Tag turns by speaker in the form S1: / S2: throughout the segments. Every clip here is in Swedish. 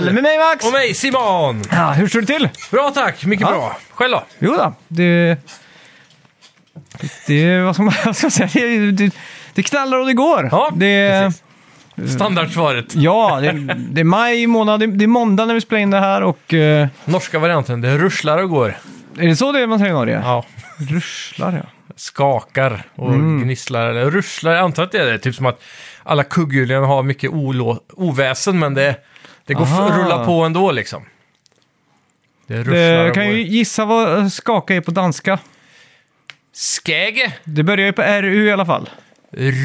S1: Med mig Max!
S2: Och mig Simon!
S1: Ja, hur står det till?
S2: Bra tack, mycket
S1: Ja.
S2: bra. Själv då?
S1: Jo då, det... Det är vad som jag ska säga. Det, det, det knallar och det går.
S2: Ja,
S1: det,
S2: precis. Standardsvaret.
S1: ja det, det är maj månad, det, det är måndag när vi spelar in det här och... eh,
S2: Norska varianten, det ruschlar och går.
S1: Är det så det man säger i Norge?
S2: Ja.
S1: Ruschlar ja.
S2: Skakar och
S1: Mm.
S2: gnisslar. Eller ruschlar, jag antar att det är det. Typ som att alla kugghjulen har mycket olå- oväsen, men det, det går
S1: Aha.
S2: att rulla på ändå liksom. Det ruschlar
S1: Det,
S2: och
S1: kan
S2: går.
S1: ju gissa vad eh, skaka är på danska.
S2: Skäge,
S1: Det börjar ju på RU i alla fall.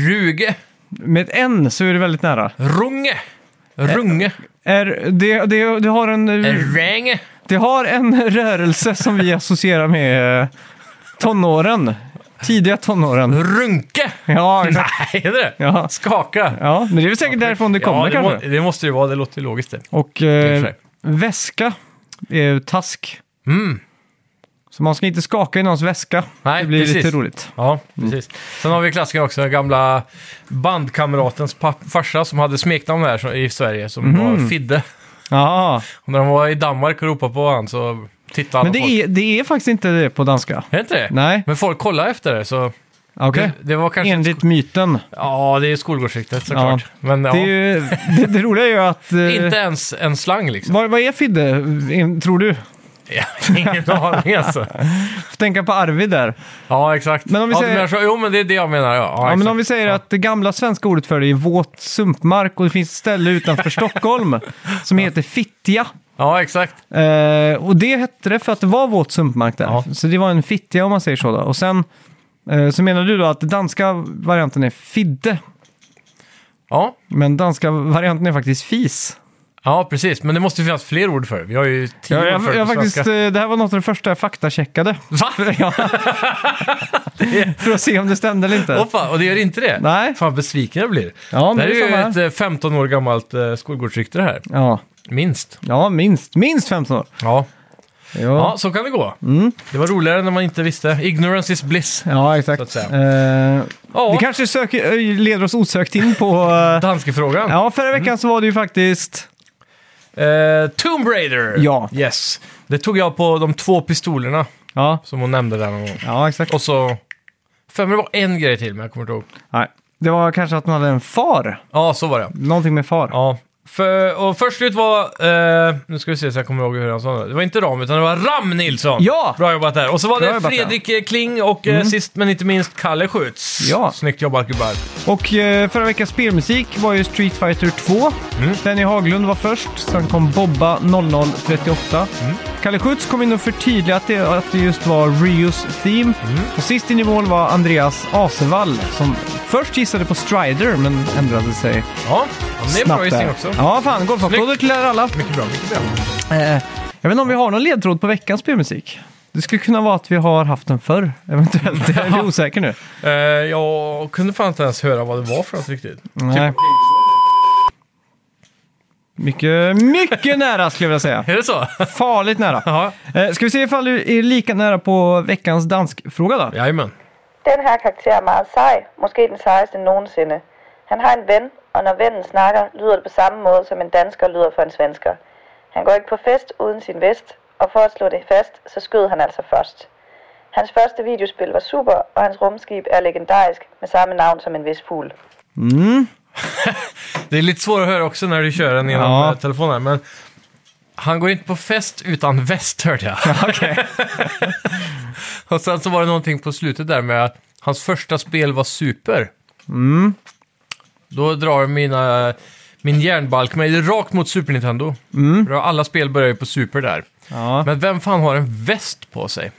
S2: ruge,
S1: Med ett N så är det väldigt nära.
S2: runge, runge,
S1: R, det, det, det, har en,
S2: ränge.
S1: det har en rörelse som vi associerar med eh, tonåren. Tidiga tonåren.
S2: Runke!
S1: Ja, exakt.
S2: Nej, är det det?
S1: Ja.
S2: Skaka.
S1: Ja, men det är väl säkert därifrån det kommer
S2: ja, det,
S1: kanske.
S2: Må, det måste ju vara, det låter ju logiskt det.
S1: Och
S2: är
S1: eh,
S2: för sig.
S1: väska är ju task.
S2: Mm.
S1: Så man ska inte skaka i någons väska.
S2: Nej,
S1: det blir
S2: precis.
S1: lite roligt.
S2: Ja, precis. Sen har vi klassiken också, gamla bandkamratens papp- farsa som hade smeknamn här så- i Sverige som
S1: Mhm.
S2: var Fidde.
S1: Ja,
S2: Och när de var i Danmark och ropade på honom så tittade alla
S1: men det
S2: folk.
S1: är, det är faktiskt inte det på danska.
S2: Är det inte det?
S1: Nej,
S2: Men folk kollade efter det så...
S1: okej.
S2: Det, det var kanske...
S1: Enligt myten.
S2: Ja, det är skolgårdsryktet såklart. Men ja,
S1: Det, är ju, det, det roliga är ju att... eh,
S2: inte ens en slang liksom.
S1: Vad, vad är Fidde, in- tror du?
S2: Ja, Ingen aning alltså.
S1: Får tänka på Arvid där.
S2: Ja, exakt.
S1: Men om vi
S2: ja,
S1: säger-
S2: du menar så, jo, men det är det jag menar. Ja, ja,
S1: Ja, men
S2: exakt.
S1: om vi säger att det gamla svenska ordet för det är våt sumpmark och det finns ett ställe utanför Stockholm som heter Fittja.
S2: ja, exakt.
S1: Eh, och det hette det för att det var våt sumpmark där.
S2: Ja.
S1: Så det var en Fittja om man säger så. Då. Och sen eh, så menar du då att den danska varianten är Fidde,
S2: Ja.
S1: men danska varianten är faktiskt Fis.
S2: ja, precis. Men det måste finnas fler ord för det. Vi har ju tio
S1: Jag,
S2: ord för
S1: jag,
S2: det
S1: jag
S2: på
S1: faktiskt,
S2: svenska.
S1: eh, det här var något av det första jag faktacheckade.
S2: Va?
S1: Ja. För att se om det stämde eller inte.
S2: Åh, fan, och det gör inte det?
S1: Nej.
S2: Fan, besviken jag blir.
S1: Ja, men
S2: det här
S1: det är samma
S2: är ju
S1: här.
S2: ett eh, 15 år gammalt eh, skolgårdsrykte det här.
S1: Ja,
S2: Minst.
S1: ja minst, minst 15 år.
S2: Ja.
S1: Ja, Mm.
S2: ja,
S1: ja.
S2: så kan det gå. Det var roligare när man inte visste. Ignorance is bliss.
S1: exakt.
S2: Så att säga.
S1: Eh,
S2: Ja,
S1: Det kanske söker, ö, leder oss osökt in på... eh,
S2: danskefrågan.
S1: ja, förra veckan så var det ju faktiskt...
S2: Eh, Tomb Raider!
S1: Ja.
S2: Yes. Det tog jag på de två pistolerna
S1: Ja,
S2: som hon nämnde där någon gång.
S1: ja exakt.
S2: Och så... För mig var en grej till, men jag kommer inte ihåg.
S1: Nej. Det var kanske att man hade en far.
S2: Ja, så var det.
S1: Någonting med far.
S2: Ja. För, och först ut var, eh, nu ska vi se så jag kommer ihåg hur han sa det. Det var inte Ram, utan det var Ram Nilsson.
S1: Ja!
S2: Bra jobbat där. Och så var
S1: Bra
S2: det
S1: jobbat, ja. Mm.
S2: Fredrik eh, Kling och eh, sist men inte minst Kalle Schütz.
S1: Ja.
S2: Snyggt jobbat gubbar.
S1: Och eh, förra veckans spelmusik var ju Street Fighter 2.
S2: Mm.
S1: Benny Haglund var först, sen kom Bobba 0038.
S2: Mm.
S1: Kalle Schütz kom in och förtydligade att det, att det just var Rios Theme.
S2: Mm.
S1: Och sist in i mål var Andreas Asevall som först gissade på Strider men ändrade sig
S2: Ja, ja, men det är
S1: snabbt
S2: bra gissning
S1: där.
S2: också.
S1: Ja, fan. Golfapplåder till er alla.
S2: Mycket bra, mycket bra.
S1: Eh, jag vet inte om vi har någon ledtråd på veckans spelmusik. Det skulle kunna vara att vi har haft den förr, eventuellt. Jag är osäker nu.
S2: Eh, jag kunde fan inte ens höra vad det var för något riktigt.
S1: Nej. Mycket, mycket nära skulle jag vilja säga.
S2: Är det så?
S1: Farligt nära.
S2: Ja.
S1: Eh, ska vi se ifall du är lika nära på veckans danskfråga då?
S2: Jajamän.
S3: Den her karakter er meget sej, måske den sejeste nogensinde. Han har en ven, og når vennen snakker, lyder det på samme måde, som en dansker lyder for en svensker. Han går ikke på fest uden sin vest, og for at slå det fast, så skød han altså først. Hans første videospil var super, og hans rumskib er legendarisk med samme navn som en vis fugl.
S2: Det är lite svårt att höra också när du kör den genom
S1: Ja.
S2: ja. telefonen, men han går inte på fest utan väst hörde jag. och sen så var det någonting på slutet där med att hans första spel var super.
S1: Mm.
S2: Då drar mina, min hjärnbalk mig rakt mot Super Nintendo. För alla spel börjar ju på super där.
S1: Mm. Ja.
S2: Men vem fan har en väst på sig?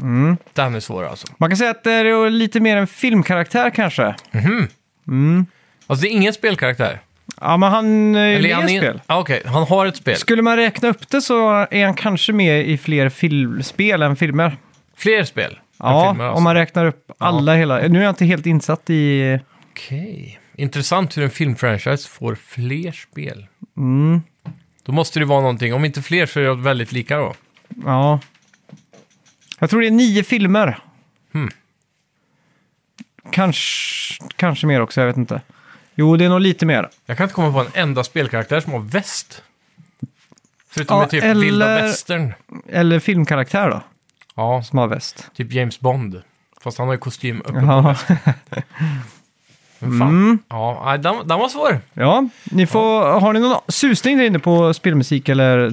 S1: Mm.
S2: Den är svår alltså.
S1: Man kan säga att det är ju lite mer en filmkaraktär kanske.
S2: Alltså det är ingen spelkaraktär.
S1: Ja, men han är ju
S2: är han
S1: med i
S2: in-
S1: spel.
S2: Ah, Okej, han har ett spel.
S1: Skulle man räkna upp det så är han kanske med i fler fil- spel än filmer.
S2: Fler spel? än
S1: Ja,
S2: filmer, alltså.
S1: om man räknar upp alla hela. Nu är jag inte helt insatt i...
S2: Okej. Intressant hur en filmfranchise får fler spel.
S1: Mm.
S2: Då måste det vara någonting. Om inte fler så är det väldigt lika då.
S1: Ja. Jag tror det är nio filmer. Kanske, kanske mer också, jag vet inte. Jo, det är nog lite mer.
S2: Jag kan inte komma på en enda spelkaraktär som har väst. Förutom
S1: Ja,
S2: i typ
S1: eller-
S2: vilda västern.
S1: Eller filmkaraktär då,
S2: Ja,
S1: som har väst.
S2: typ James Bond. Fast han har ju kostym uppe på
S1: Ja.
S2: västen. Men fan.
S1: Mm.
S2: Ja, nej, den, den var svår.
S1: ja, ni får, har ni någon susning där inne på spelmusik eller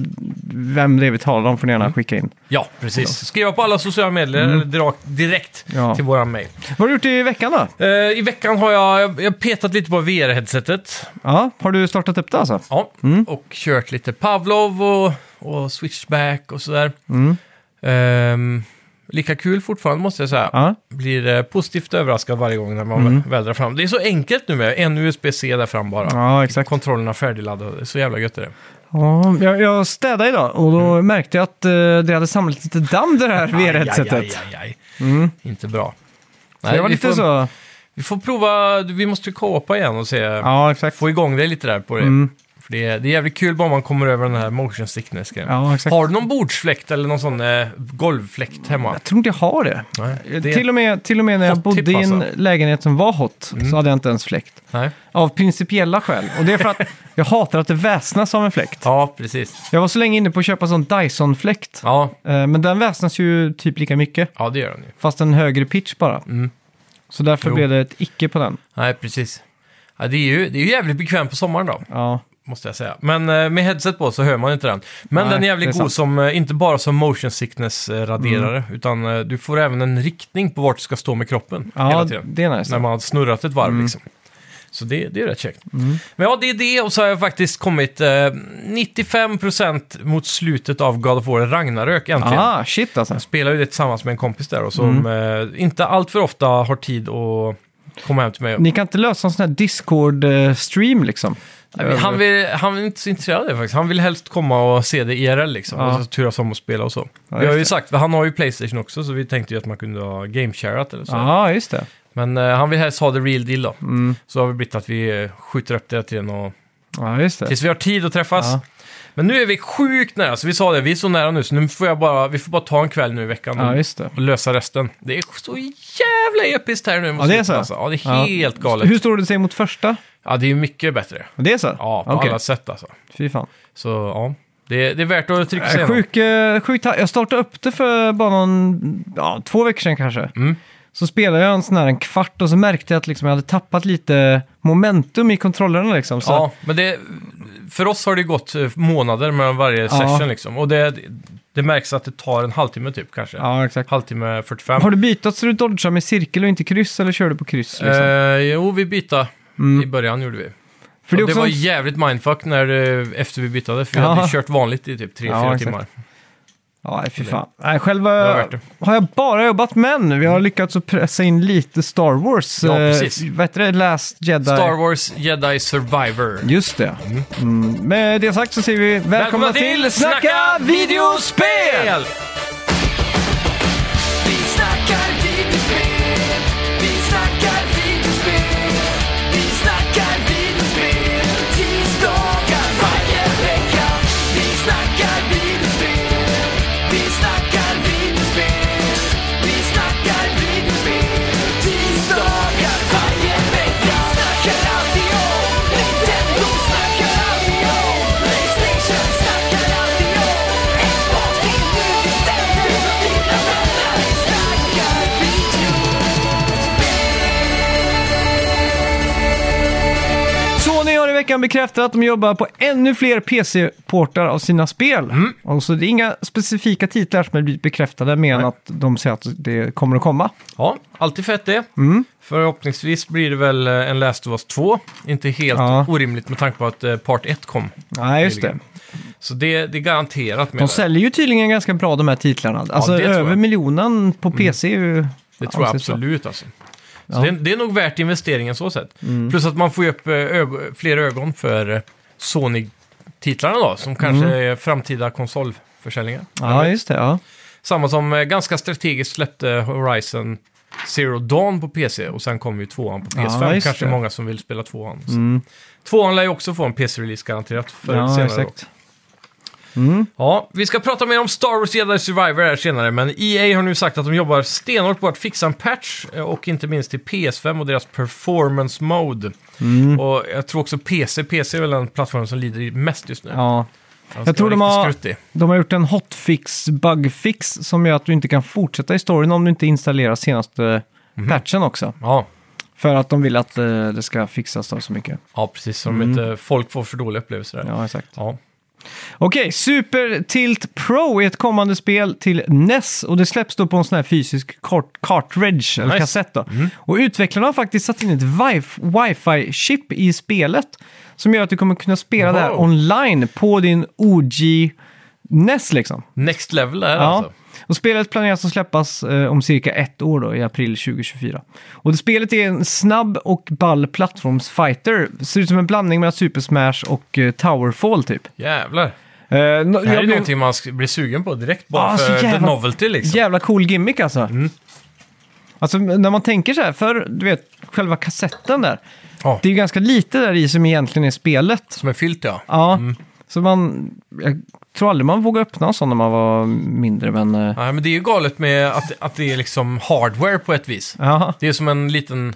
S1: vem det är vi talar om får ni gärna skicka in.
S2: Ja, precis. Skriva på alla sociala medier eller dra- direkt
S1: Mm. Ja.
S2: till våran mail.
S1: Vad har du gjort i veckan då?
S2: Eh, I veckan har jag, jag, jag petat lite på VR-headsetet.
S1: Ja, har du startat upp det alltså?
S2: Ja, och kört lite Pavlov och, och Switchback och sådär.
S1: Mm.
S2: Ehm, lika kul fortfarande måste jag säga.
S1: Ja.
S2: Blir eh, positivt överraskad varje gång när man vädrar fram. Det är så enkelt nu med en USB-C där fram bara.
S1: Mm. Ja, exakt.
S2: Kontrollerna färdigladdade, så jävla gött är det.
S1: Ja, jag, jag städade idag och då märkte jag att eh, det hade samlat lite damm det här VR-headsetet.
S2: Mm. Aj, aj, aj, aj, aj. Inte bra.
S1: Mm. Så jag var
S2: vi,
S1: lite
S2: får,
S1: så...
S2: vi får prova, vi måste kåpa igen och se,
S1: Ja, exakt.
S2: få igång dig lite där på det.
S1: Mm.
S2: För det, är- det är jävligt kul bara man kommer över den här motion sickness grejen.
S1: Ja, exakt.
S2: Har du någon bordsfläkt eller någon sån eh, golvfläkt hemma?
S1: Jag tror inte jag har det.
S2: Nej.
S1: Till, och med, till och med när jag
S2: Hot
S1: bodde
S2: tip,
S1: i en
S2: alltså. Mm.
S1: lägenhet som var hot så hade jag inte ens fläkt.
S2: Nej.
S1: Av principiella skäl. Och det är för att jag hatar att det väsnas av en fläkt.
S2: Ja, precis.
S1: Jag var så länge inne på att köpa sån Dyson-fläkt.
S2: Ja,
S1: Eh, Men den väsnas ju typ lika mycket,
S2: ja det gör den ju.
S1: fast en högre pitch bara. Så därför
S2: Mm.
S1: blev
S2: Jo.
S1: det ett icke på den.
S2: Nej, precis. Ja, det, är ju, det är ju jävligt bekvämt på sommaren då,
S1: Ja,
S2: måste jag säga. Men eh, med headset på så hör man inte den. Men
S1: Nej,
S2: den är
S1: det
S2: jävligt
S1: är
S2: god
S1: sant. Mm.
S2: som, eh, inte bara som motion sickness-raderare, utan eh, du får även en riktning på vart du ska stå med kroppen hela
S1: ja
S2: tiden.
S1: det är Mm. nice.
S2: När man har snurrat ett varv liksom. Så det, det är rätt käckt.
S1: Mm.
S2: Men ja, det är det och så har jag faktiskt kommit eh, 95% mot slutet av God of War Ragnarök äntligen.
S1: Ah, shit alltså.
S2: Jag spelar ju det tillsammans med en kompis där och som
S1: Mm.
S2: eh, inte allt för ofta har tid att komma hem till mig.
S1: Ni kan inte lösa en sån här Discord-stream liksom?
S2: Han, vill, han är inte så intresserad av det faktiskt. Han vill helst komma och se det IRL liksom.
S1: Ja.
S2: Och så turas om att spela och så.
S1: Ja,
S2: vi har
S1: just
S2: ju
S1: det.
S2: sagt, för han har ju Playstation också så vi tänkte ju att man kunde ha game-sharat eller så.
S1: Ja, just det.
S2: Men eh, han vill helst ha the real deal då.
S1: Mm.
S2: Så har vi blivit att vi eh, skjuter upp det hela tiden och
S1: Ja, just det.
S2: tills vi har tid att träffas.
S1: Ja.
S2: Men nu är vi sjukt nära, så vi sa det, vi är så nära nu så nu får jag bara, vi får bara ta en kväll nu i veckan.
S1: Ja, just det.
S2: och lösa resten. Det är så jävla episkt här nu. måste
S1: det är
S2: jag
S1: så?
S2: Alltså. Ja, det
S1: Ja.
S2: är helt galet.
S1: Hur står det sig mot första?
S2: Ja, det är mycket bättre.
S1: Det är så?
S2: Ja, på
S1: Okej.
S2: alla sätt alltså.
S1: Fy fan.
S2: Så ja, det, det är värt att trycka sig
S1: Äh,
S2: igenom.
S1: Sjuk, eh, sjukt ha- jag startade upp det för bara någon, ja, två veckor sedan kanske.
S2: Mm.
S1: Så spelade jag en sån här en kvart och så märkte jag att liksom jag hade tappat lite momentum i kontrollerna liksom. Så
S2: Ja, men det, för oss har det gått eh, månader mellan varje session liksom. Och det, det märks att det tar en halvtimme typ kanske.
S1: Ja, exakt.
S2: Halvtimme 45.
S1: Har du bytt så du dodgar med cirkel och inte kryss eller kör du på kryss? Liksom?
S2: Eh, jo, vi bytte
S1: Mm.
S2: i början gjorde vi.
S1: för det
S2: det,
S1: är också
S2: det var
S1: en-
S2: jävligt mindfuck när, eh, efter vi bytte, för vi
S1: Ja.
S2: hade ju kört vanligt i typ 3-4
S1: Ja, exakt.
S2: timmar.
S1: Ja, nej, fy fan. Nej, själv
S2: var
S1: eh,
S2: värt det.
S1: har jag bara jobbat men vi har lyckats att pressa in lite Star Wars.
S2: Ja,
S1: eh,
S2: precis.
S1: Vad heter det? Last Jedi?
S2: Star Wars Jedi Survivor.
S1: Just det. Mm. Med det sagt så säger vi välkomna,
S2: Välkomna
S1: till
S2: till
S1: Snacka
S2: Snacka
S1: videospel!
S2: Spel!
S4: Vi snackar videospel, vi snackar videospel, vi snackar videospel, tisdagar varje vecka. Vi snackar videospel, vi snackar videospel, vi snackar videospel, tisdagar varje vecka. Snackar alltid om Nintendo, snackar alltid om Playstation, snackar alltid om Xbox, det är nu vi sänder med dina vänner. Vi snackar videospel.
S1: Sony har i veckan bekräftat att de jobbar på ännu fler PC-portar av sina spel.
S2: Mm.
S1: Och så det är inga specifika titlar som har blivit bekräftade mer än att de säger att det kommer att komma.
S2: Ja, alltid fett det.
S1: Mm.
S2: Förhoppningsvis blir det väl eh, en Last of Us 2. Inte helt
S1: Ja.
S2: orimligt med tanke på att eh, Part 1 kom.
S1: Nej, just det.
S2: Så det, det är garanterat med
S1: De
S2: det.
S1: säljer ju tydligen ganska bra de här titlarna. Alltså
S2: det tror jag. Mm.
S1: över miljonen på PC är ju...
S2: Det tror jag
S1: anses så.
S2: absolut alltså. Så det, är- det är nog värt investeringen så sett.
S1: Mm.
S2: Plus att man får ju upp eh, ög- fler ögon för eh, Sony-titlarna då, som kanske
S1: Mm.
S2: är framtida konsolförsäljningar.
S1: Ja, just det. Ja.
S2: Samma som eh, ganska strategiskt släppte Horizon Zero Dawn på PC och sen kom ju tvåan på PS5.
S1: Ja, just
S2: Kanske
S1: det. Mm.
S2: många som vill spela tvåan. Så. Tvåan lär ju också få en PC-release garanterat förr eller
S1: ja
S2: senare.
S1: exakt.
S2: Då. Ja, vi ska prata mer om Star Wars Jedi Survivor här senare, men EA har nu sagt att de jobbar stenhårt på att fixa en patch eh, och inte minst till PS5 och deras performance
S1: Mm.
S2: mode. Och jag tror också PC, PC är väl den plattform som lider mest just nu.
S1: Ja. Jag tror de har,
S2: Skruttig.
S1: de har gjort en hotfix, bugfix, som gör att du inte kan fortsätta i storyn om du inte installerar senaste
S2: Mhm.
S1: patchen också.
S2: Ja.
S1: För att de vill att eh, det ska fixas då så mycket.
S2: ja, precis. Som inte folk får för dåliga upplevelser där. Ja.
S1: Mm. Ja, exakt. Okej, Super Tilt Pro är ett kommande spel till NES och det släpps då på en sån här fysisk cart- cartridge, eller
S2: Nice. Mm.
S1: kassett då. Och utvecklarna har faktiskt satt in ett wi- wifi-chip i spelet som gör att du kommer kunna spela det här
S2: Wow.
S1: online på din OG NES liksom.
S2: Next level där alltså.
S1: Och spelet planeras att släppas eh, om cirka ett år då, i april 2024. Och det spelet är en snabb och ball plattformsfighter. Ser ut som en blandning mellan Super Smash och eh, Towerfall typ.
S2: Jävlar.
S1: Eh, no-
S2: Det
S1: jag
S2: här är
S1: blev-
S2: någonting man sk- blir sugen på direkt bara
S1: Ah, så
S2: för the
S1: jävla-
S2: novelty liksom. Mm.
S1: Jävla cool gimmick alltså. Alltså när man tänker så här, för du vet själva kassetten där.
S2: Ja.
S1: Det är ju ganska lite där i som egentligen är spelet.
S2: Som är fyllt ja.
S1: Ja, så man... Jag tror aldrig man vågade öppna en sån när man var mindre, men... eh,
S2: Nej, men det är ju galet med att, att det är liksom hardware på ett vis.
S1: Ja,
S2: Det är som en liten,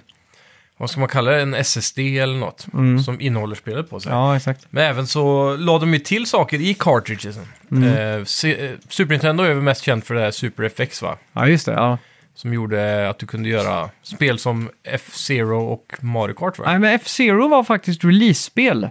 S2: vad ska man kalla det, en SSD eller något. Som innehåller spelet på sig.
S1: Mm. ja exakt.
S2: Men även så la de ju till saker i cartridgesen.
S1: Mm.
S2: Eh, se- eh, Super Nintendo är väl mest känd för det här Super FX va?
S1: Ja, just det. Ja.
S2: Som gjorde att du kunde göra spel som F-Zero och Mario Kart va?
S1: Nej, men F-Zero var faktiskt release-spel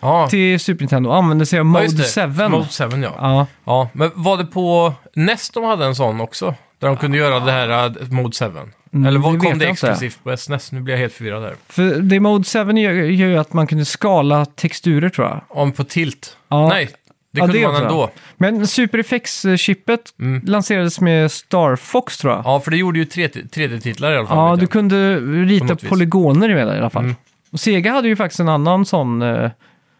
S2: Ja,
S1: till Super Nintendo och använde sig av
S2: Ja,
S1: Mode
S2: just det.
S1: 7.
S2: Mode 7 ja. ja.
S1: Ja.
S2: men var det på Nest de hade en sån också? Där de kunde göra det här eh, Mode 7? Eller
S1: Mm, det
S2: vad
S1: vet
S2: kom det
S1: jag inte.
S2: exklusivt på SNES? Nu blir jag helt förvirrad här.
S1: För det Mode 7 gör, gör ju att man kunde skala texturer tror jag.
S2: Om på tilt?
S1: Ja.
S2: Nej, det
S1: Ja,
S2: kunde man
S1: också.
S2: ändå.
S1: Men Super FX-chippet lanserades med Star Fox tror jag. Ja,
S2: Mm. Ja, för det gjorde ju 3D-titlar i alla fall. vet
S1: du
S2: jag.
S1: kunde
S2: På
S1: rita
S2: något vis. Mm.
S1: polygoner i det i alla fall. Och Sega hade ju faktiskt en annan sån eh,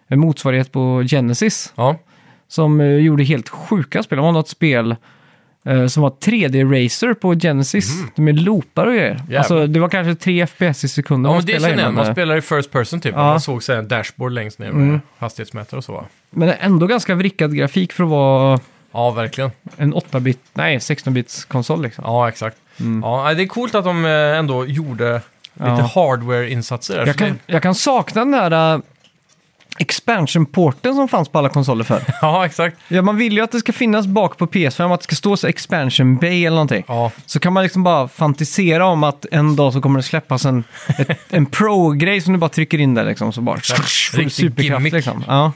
S1: motsvarighet på Genesis.
S2: Ja,
S1: Som eh, gjorde helt sjuka spel. De hade något spel eh, som var 3D-racer på Genesis. Med loopar och grejer.
S2: Mhm. Jävlar.
S1: Alltså det var kanske 3 FPS i sekunden
S2: ja
S1: man
S2: men det
S1: spelade eh.
S2: känner jag.
S1: in,
S2: Man
S1: men,
S2: spelar i first person typ. och
S1: Ja. Mm.
S2: Man såg så här en dashboard längst ner med hastighetsmätare och så. va?
S1: men ändå ganska vrickad grafik för att vara
S2: Ja, verkligen.
S1: en 8-bit, nej 16-bits konsol liksom.
S2: Ja, exakt. Ja, nej, det är coolt att de eh, ändå gjorde lite
S1: Ja.
S2: hardware-insatser. där.
S1: Jag
S2: Så det-
S1: kan, jag kan sakna den där äh, expansion-porten som fanns på alla konsoler förr.
S2: Ja, exakt.
S1: ja, man vill ju att det ska finnas bak på PS5, att det ska stå så expansion bay eller någonting.
S2: Ja,
S1: Så kan man liksom bara fantisera om att en dag så kommer det släppas en, ett, en pro-grej som du bara trycker in där liksom. Så bara full
S2: Riktig
S1: superkraft
S2: gimmick.
S1: liksom. Ja,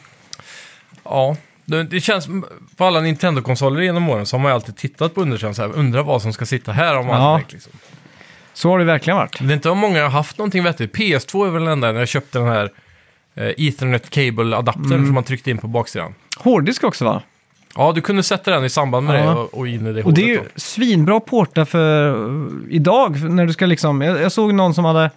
S2: ja. Det, det känns, på alla Nintendo-konsoler genom åren så har man ju alltid tittat på undersidan så här, undrar vad som ska sitta här om
S1: Ja.
S2: allt liksom.
S1: så har det verkligen varit.
S2: Men Det är inte många jag har haft någonting vettigt. PS2 är väl den där när jag köpte den här eh, Ethernet Cable-adaptern
S1: Mm.
S2: som man tryckte in på baksidan.
S1: Hårddisk också va?
S2: Ja, du kunde sätta den i samband med
S1: Ja.
S2: det och, och in i det
S1: Och
S2: hålet.
S1: det är ju
S2: då.
S1: svinbra portar för eh, idag, för när du ska liksom... Jag, jag såg någon som hade...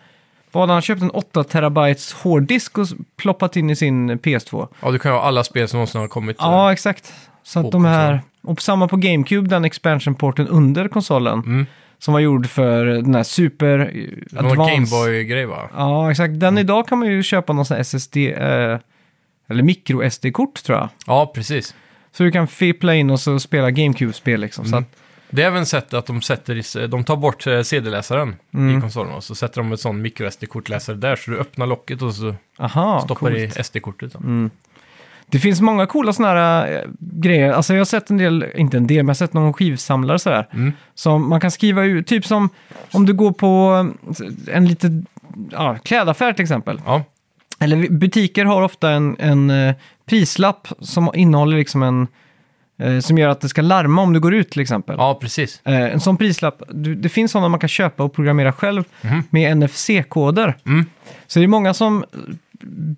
S1: Vad hade han köpt? En 8 terabytes hårddisk och s- ploppat in i sin PS2.
S2: Ja, du kan ju ha alla spel som någonsin har kommit. eh,
S1: Ja, exakt. Så att
S2: Och
S1: de här... Och samma på GameCube, den expansion-porten under konsolen. Som var gjord för den här Super eh,
S2: Det Mm. var Mm.
S1: Advance.
S2: någon Gameboy-grej va?
S1: Ja, exakt. Den idag kan man ju köpa någon sån här SSD... Eh, eller micro-SD-kort tror jag.
S2: Ja, precis.
S1: Så du kan fippla in och så spela GameCube-spel liksom.
S2: Mm.
S1: Så att,
S2: Det är även sett att de, sätter i, de tar bort eh, CD-läsaren
S1: Mm.
S2: i konsolen och så sätter de ett sån micro-SD-kortläsare där så du öppnar locket och så
S1: aha,
S2: stoppar
S1: coolt.
S2: i SD-kortet. då.
S1: Det finns många coola sådana här eh, grejer. Alltså jag har sett en del, inte en del, men jag har sett någon skivsamlare sådär. Som man kan skriva ut, typ som om du går på eh, en liten ja, klädaffär till exempel.
S2: Ja,
S1: Eller vi- butiker har ofta en, en eh, prislapp som innehåller liksom en, eh, som gör att det ska larma om du går ut till exempel.
S2: ja precis.
S1: Eh, En sån prislapp, du, det finns sådana man kan köpa och programmera själv
S2: Mhm.
S1: med NFC-koder.
S2: Mm.
S1: Så det är många som eh,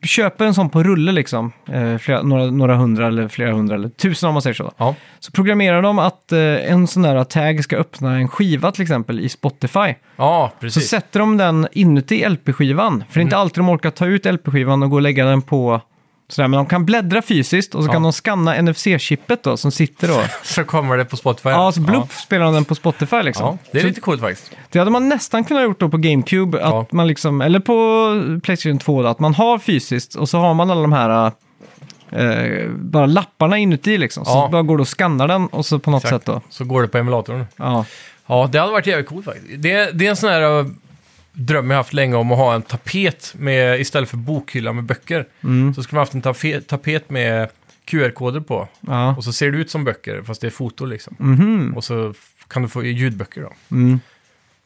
S1: köper en sån på rulle liksom, eh, flera, några, några hundra eller flera hundra eller tusen om man säger så.
S2: Ja,
S1: Så programmerar de att eh, en sån där tag ska öppna en skiva till exempel i Spotify.
S2: ja
S1: Så
S2: precis. Mhm.
S1: sätter de den inuti LP-skivan, för det är inte alltid de orkar ta ut LP-skivan och gå och lägga den på sådär, men de kan bläddra fysiskt och så
S2: Ja.
S1: kan de skanna NFC-chippet då som sitter då.
S2: Så kommer det på Spotify.
S1: Ja, så blupp spelar de den på Spotify liksom.
S2: Ja, det är
S1: Så-
S2: lite coolt faktiskt.
S1: det hade man nästan kunnat gjort då på GameCube, att
S2: Ja.
S1: man liksom, eller på Playstation 2, då, att man har fysiskt och så har man alla de här eh, bara lapparna inuti liksom. Så
S2: Ja.
S1: bara går du och skannar den och så på något sätt
S2: Exakt.
S1: då.
S2: Så går det på emulatorn.
S1: Ja.
S2: Ja, det hade varit jävligt coolt faktiskt. Det, det är en sån här eh, dröm jag haft länge om att ha en
S1: Mm.
S2: tapet med, istället för bokhylla med böcker, så skulle man haft en tafe- tapet med QR-koder på.
S1: Ja.
S2: Och så ser det ut som böcker, fast det är foto liksom.
S1: Mhm.
S2: Och så f- kan du få ljudböcker då.
S1: Mm.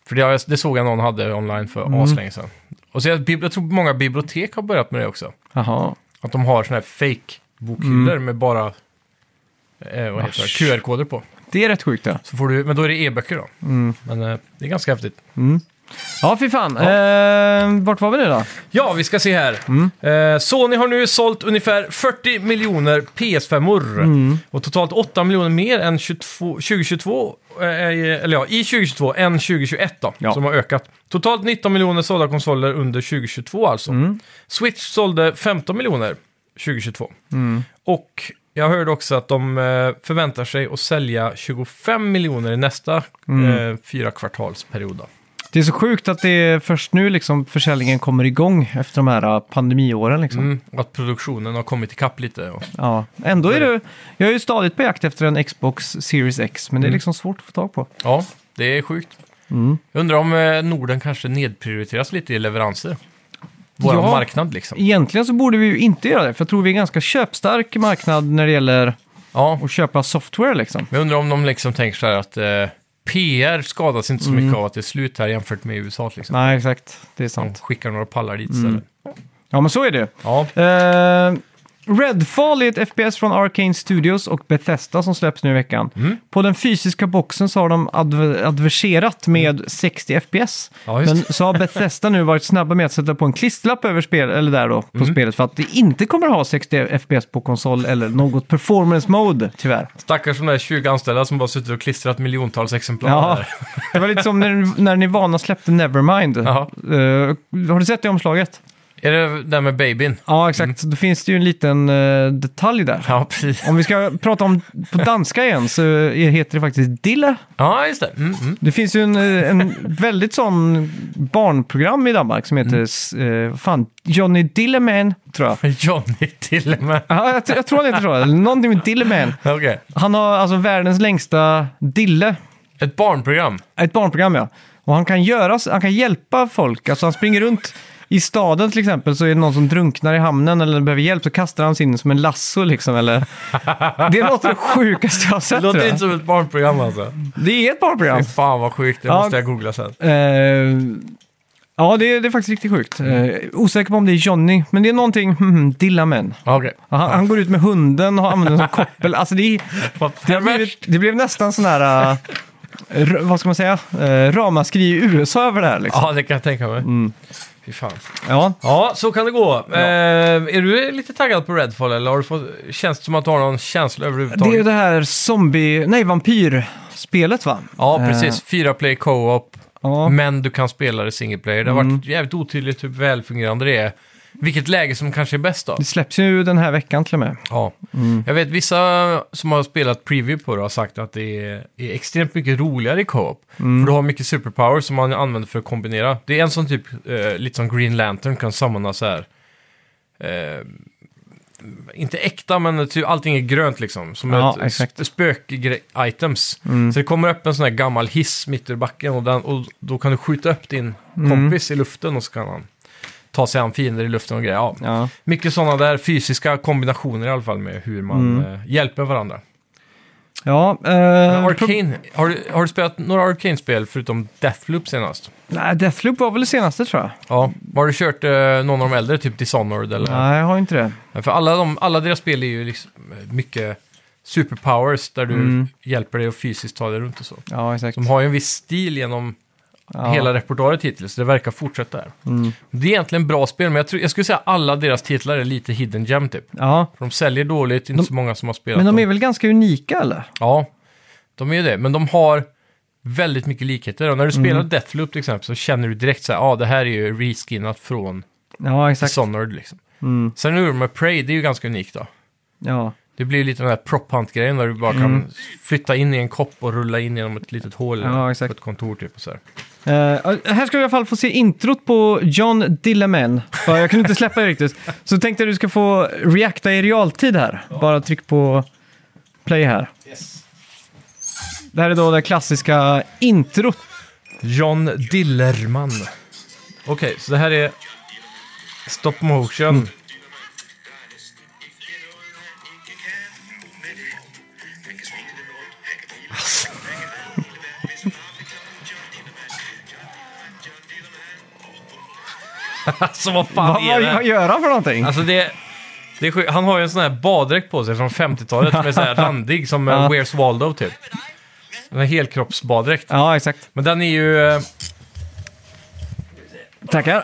S2: För det, har jag- det såg jag någon hade online för aslänge sedan. Och så jag, bibli- jag tror många bibliotek har börjat med det också.
S1: Jaha.
S2: Att de har såna här fake-bokhyllor med bara eh, vad heter det,
S1: Asch.
S2: QR-koder på.
S1: Det är rätt sjukt det.
S2: Så får du, men då är det e-böcker då. Men eh, det är ganska häftigt.
S1: Ja, fy fan. Eh, vart var vi nu då?
S2: Ja, vi ska se här. Eh, Sony har nu sålt ungefär 40 miljoner PS5-or. Och totalt 8 miljoner mer än 22, 2022, eh, eller ja, i 2022 än 2021 då,
S1: Ja.
S2: som har ökat. Totalt 19 miljoner sålda konsoler under 2022 alltså. Switch sålde 15 miljoner 2022. Och jag hörde också att de eh, förväntar sig att sälja 25 miljoner i nästa eh, fyra kvartalsperiod. Då.
S1: Det är så sjukt att det är först nu liksom försäljningen kommer igång efter de här eh, pandemiåren. Liksom.
S2: Mm. Och att produktionen har kommit ikapp lite. Och
S1: Ja. Ändå är det, jag är ju stadigt på jakt efter en Xbox Series X, men det är liksom svårt att få tag på.
S2: Ja, det är sjukt. Jag undrar om eh, Norden kanske nedprioriteras lite i leveranser. Vår
S1: Ja.
S2: marknad liksom.
S1: Egentligen så borde vi ju inte göra det, för jag tror vi är en ganska köpstark marknad när det gäller
S2: Ja,
S1: att köpa software. Liksom.
S2: men jag undrar om de liksom tänker så här att eh, PR skadas inte så mycket av att det är slut här jämfört med USA. Liksom.
S1: Nej, exakt. Det är
S2: De
S1: sant.
S2: skickar några pallar dit istället.
S1: Mm. Ja, men så är det ju.
S2: Ja,
S1: Eh, Redfall är ett FPS från Arcane Studios och Bethesda som släpps nu i veckan. På den fysiska boxen så har de adver- adverserat med 60 FPS.
S2: Ja, just
S1: men
S2: det.
S1: så har Bethesda nu varit snabba med att sätta på en klisterlapp över spel, eller där då, på spelet för att det inte kommer ha 60 FPS på konsol eller något performance mode, tyvärr.
S2: stackars de där 20 anställda som bara suttit och klistrat miljontals exemplar.
S1: Ja,
S2: där.
S1: det var lite som när, när Nirvana släppte Nevermind.
S2: Ja.
S1: Eh, har du sett det omslaget?
S2: Är det där med babyn?
S1: Ja, exakt. Då finns det ju en liten eh, detalj där.
S2: Ja, precis.
S1: Om vi ska prata om på danska igen så heter det faktiskt Dille.
S2: Ja, just det. Mm, mm.
S1: Det finns ju en, eh, en väldigt sån barnprogram i Danmark som heter s- eh, vad fan, Johnny Dilleman, tror jag.
S2: Johnny till och med.
S1: Ja, jag, tr- jag tror han heter så, eller någonting med Dilleman.
S2: Okej.
S1: Han har alltså världens längsta dille.
S2: Ett barnprogram.
S1: Ett barnprogram ja. Och han kan, göra, s- han kan hjälpa folk. Alltså han springer runt i staden till exempel så är det någon som drunknar i hamnen eller behöver hjälp så kastar han sig in som en lasso liksom. Eller... Det låter det sjukaste jag har
S2: Det
S1: sett. tror
S2: låter
S1: jag.
S2: inte som ett barnprogram alltså.
S1: Det är ett barnprogram.
S2: Fy fan vad sjukt, det
S1: Ja.
S2: måste jag googla sen.
S1: Eh, ja, det är, det är faktiskt riktigt sjukt. Eh, osäker på om det är Johnny, men det är någonting, hmm, Dillaman.
S2: Okej.
S1: Han, han går ut med hunden och använder den som koppel. Alltså det, är-
S2: Vad
S1: det, har blivit, det blev nästan sån här, eh, r- vad ska man säga, uh, ramaskri i USA över det här. Liksom.
S2: Ja, det kan jag tänka mig. Fy fan.
S1: Ja.
S2: Mm. Ja, så kan det gå. Eh, är du lite taggad på Redfall eller har du fått, känns det som att du har någon känsla
S1: Det är ju
S2: överhuvudtaget?
S1: det här zombie, nej vampyrspelet va? Mm.
S2: Ja, precis. Fyra play co-op,
S1: Ja.
S2: men du kan spela det single player. Det har varit jävligt otydligt hur välfungerande det är. Vilket läge som kanske är bäst då?
S1: Det släpps ju den här veckan till och med.
S2: Ja.
S1: Mm.
S2: Jag vet vissa som har spelat preview på det har sagt att det är, är extremt mycket roligare i co-op.
S1: Mm.
S2: För du har mycket superpowers som man använder för att kombinera. Det är en sån typ, eh, lite som Green Lantern kan sammanhålla så här. Eh, inte äkta, men typ, allting är grönt liksom. Som
S1: Ja,
S2: ett
S1: exakt. Mm.
S2: sp- spök-items. Så det kommer upp en sån här gammal hiss mitt ur backen och, den, och då kan du skjuta upp din
S1: Mm.
S2: kompis i luften och så kan han ta sig an fiender i luften och grejer. Ja.
S1: Ja.
S2: Mycket sådana där fysiska kombinationer i alla fall med hur man
S1: Mm.
S2: eh, hjälper varandra.
S1: Ja, eh,
S2: Arcane, har, du, har du spelat några Arcane-spel förutom Deathloop senast?
S1: nej, Deathloop var väl det senaste tror jag.
S2: Ja. Har du kört eh, någon av de äldre, typ Dishonored? Eller?
S1: Nej, jag har inte det.
S2: För alla, de, alla deras spel är ju liksom eh, mycket superpowers där du
S1: Mm.
S2: hjälper dig att fysiskt ta dig runt och så.
S1: Ja, exakt.
S2: De har ju en viss stil genom
S1: Ja. Mm.
S2: hela repertoaret hittills, så det verkar fortsätta där. Det är egentligen bra spel, men jag, tror, jag skulle säga alla deras titlar är lite hidden gem typ.
S1: Ja.
S2: För de säljer dåligt, inte så många som har spelat
S1: Men
S2: dem.
S1: de är väl ganska unika eller?
S2: Ja, de är ju det. Men de har väldigt mycket likheter. Och när du
S1: Mm.
S2: spelar Deathloop till exempel så känner du direkt så här, ja ah, det här är ju reskinnat från
S1: Ja, exakt. Mm.
S2: Dishonored liksom. Sen nu med Prey, det är ju ganska unikt då.
S1: Ja.
S2: Det blir ju lite den här prop hunt-grejen där du bara kan flytta in i en kopp och rulla in genom ett litet hål
S1: Mm. Ja,
S2: eller
S1: exakt.
S2: på ett kontor typ. Och så här.
S1: Eh, här ska vi i alla fall få se introt på John Dilleman. För jag kunde inte släppa det riktigt. Så tänkte jag att du ska få reacta i realtid här. Bara tryck på play här. Det här är då det klassiska introt.
S2: John Dillerman. Okej, så det här är
S1: Mm.
S2: stop motion.
S5: Ikke kan
S2: alltså vad fan
S1: Vad,
S2: är
S1: vad,
S2: det?
S1: vad gör han för någonting?
S2: Alltså det, det är sjukt. Han har ju en sån här baddräkt på sig från 50-talet som är så här randig som
S1: Ja.
S2: ja. Where's Waldo typ. En helkroppsbaddräkt.
S1: Ja, exakt.
S2: Men den är ju... eh,
S1: Tackar.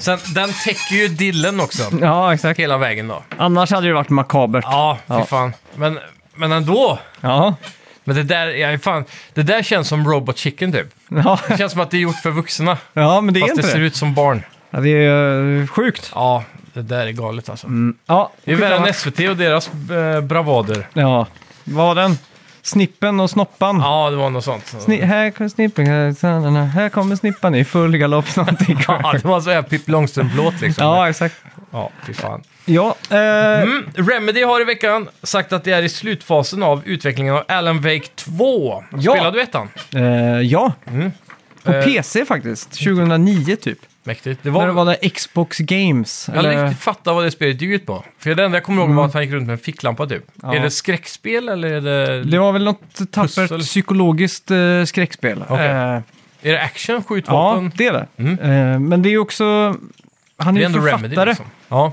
S2: Sen, den täcker ju dillen också.
S1: Ja, exakt.
S2: Hela vägen då.
S1: Annars hade det varit makabert.
S2: Ja, fy
S1: Ja.
S2: fan. Men, men ändå.
S1: Ja.
S2: Men det där, ja, fan, det där känns som Robot Chicken typ.
S1: Ja,
S2: Det känns som att det är gjort för vuxna.
S1: ja men det är
S2: Fast det
S1: inte
S2: ser
S1: det.
S2: ut som barn.
S1: Ja, det är eh, sjukt.
S2: Ja, det där är galet alltså.
S1: Ja,
S2: Det är värre
S1: skitsamma.
S2: än SVT och deras eh, bravader.
S1: Ja, vad var den? Snippen och snoppan.
S2: Ja, det var något sånt.
S1: Sni- här kommer snippen, här kommer snippan i full galopp. Någonting.
S2: Ja, det var så här Pippi Långstrump-låt liksom.
S1: ja, exakt.
S2: Ja, fy fan.
S1: Ja, eh,
S2: Mm, Remedy har i veckan sagt att det är i slutfasen av utvecklingen av Alan Wake 2.
S1: Ja.
S2: Spelade du ettan?
S1: eh, ja. på
S2: Eh.
S1: PC faktiskt. 2009 typ.
S2: Mäktigt. Det
S1: När
S2: var...
S1: det var där Xbox Games.
S2: Jag har aldrig
S1: eller- Mm.
S2: riktigt fattat vad det spelet gick ut på. För det enda jag kommer ihåg var att han gick runt med en ficklampa typ.
S1: Ja.
S2: Är det skräckspel eller är det,
S1: Det var väl något tappert
S2: Pussel.
S1: psykologiskt eh, skräckspel.
S2: Okej.
S1: Eh,
S2: är det action, skjutvapen?
S1: ja, det är det.
S2: Mm.
S1: Eh, men det är ju också... Han är
S2: det
S1: ju författare.
S2: liksom. Ja,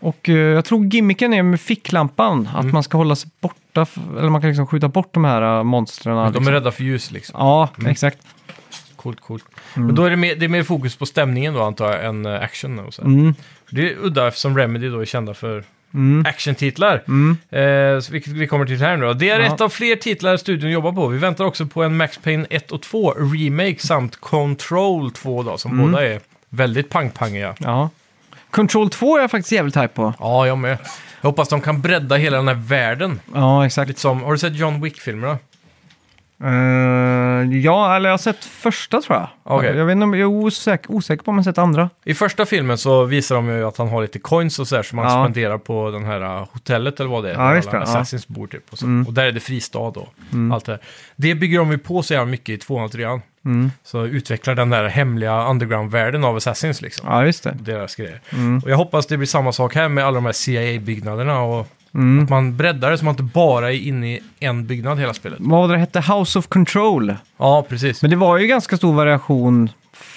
S1: Och eh, jag tror gimmicken är med ficklampan, att
S2: Mm.
S1: man ska hålla sig borta, f- eller man kan liksom skjuta bort de här eh, monstren.
S2: de är
S1: liksom.
S2: rädda för ljus liksom.
S1: Ja, Mm. exakt.
S2: Coolt, coolt. Men då är det, mer, det är mer fokus på stämningen då antar jag, än eh, action. Och så. här.
S1: Mm.
S2: Det är udda eftersom Remedy då är kända för
S1: Mm.
S2: actiontitlar.
S1: Mm.
S2: Eh, så vilket vi kommer till här nu då. Det är
S1: Ja.
S2: ett av fler titlar studion jobbar på. Vi väntar också på en Max Payne 1 och 2 remake samt Control 2 då, som
S1: Mm.
S2: båda är väldigt pangpangiga.
S1: Ja. Control 2 är jag faktiskt jävligt hype på.
S2: Ja, jag med. Jag hoppas de kan bredda hela den här världen.
S1: Ja, exakt.
S2: Lite som, har du sett John Wick-filmerna?
S1: Eh, ja, eller jag har sett första tror jag.
S2: Okej.
S1: Jag, vet inte, om- jag är osäker, osäker på om jag har sett andra.
S2: I första filmen så visar de ju att han har lite coins och sådär som han
S1: Ja.
S2: spenderar på den här uh, hotellet eller vad det är.
S1: Ja,
S2: där
S1: just
S2: alla
S1: det, ja. Mm.
S2: Assassins bor typ. Och, så. och där är det fristad då. Allt det här. Det bygger de ju på så jävla mycket i tvåan och trean.
S1: Mm.
S2: Så utvecklar den där hemliga underground-världen av Assassins liksom.
S1: Ja, Mm. just det.
S2: Deras grejer. Och jag hoppas det blir samma sak här med alla de här CIA-byggnaderna och
S1: Mm.
S2: att man breddar det så man inte bara är inne i en byggnad hela spelet.
S1: Vad var det det hette? House of Control.
S2: Ja, precis.
S1: Men det var ju ganska stor variation,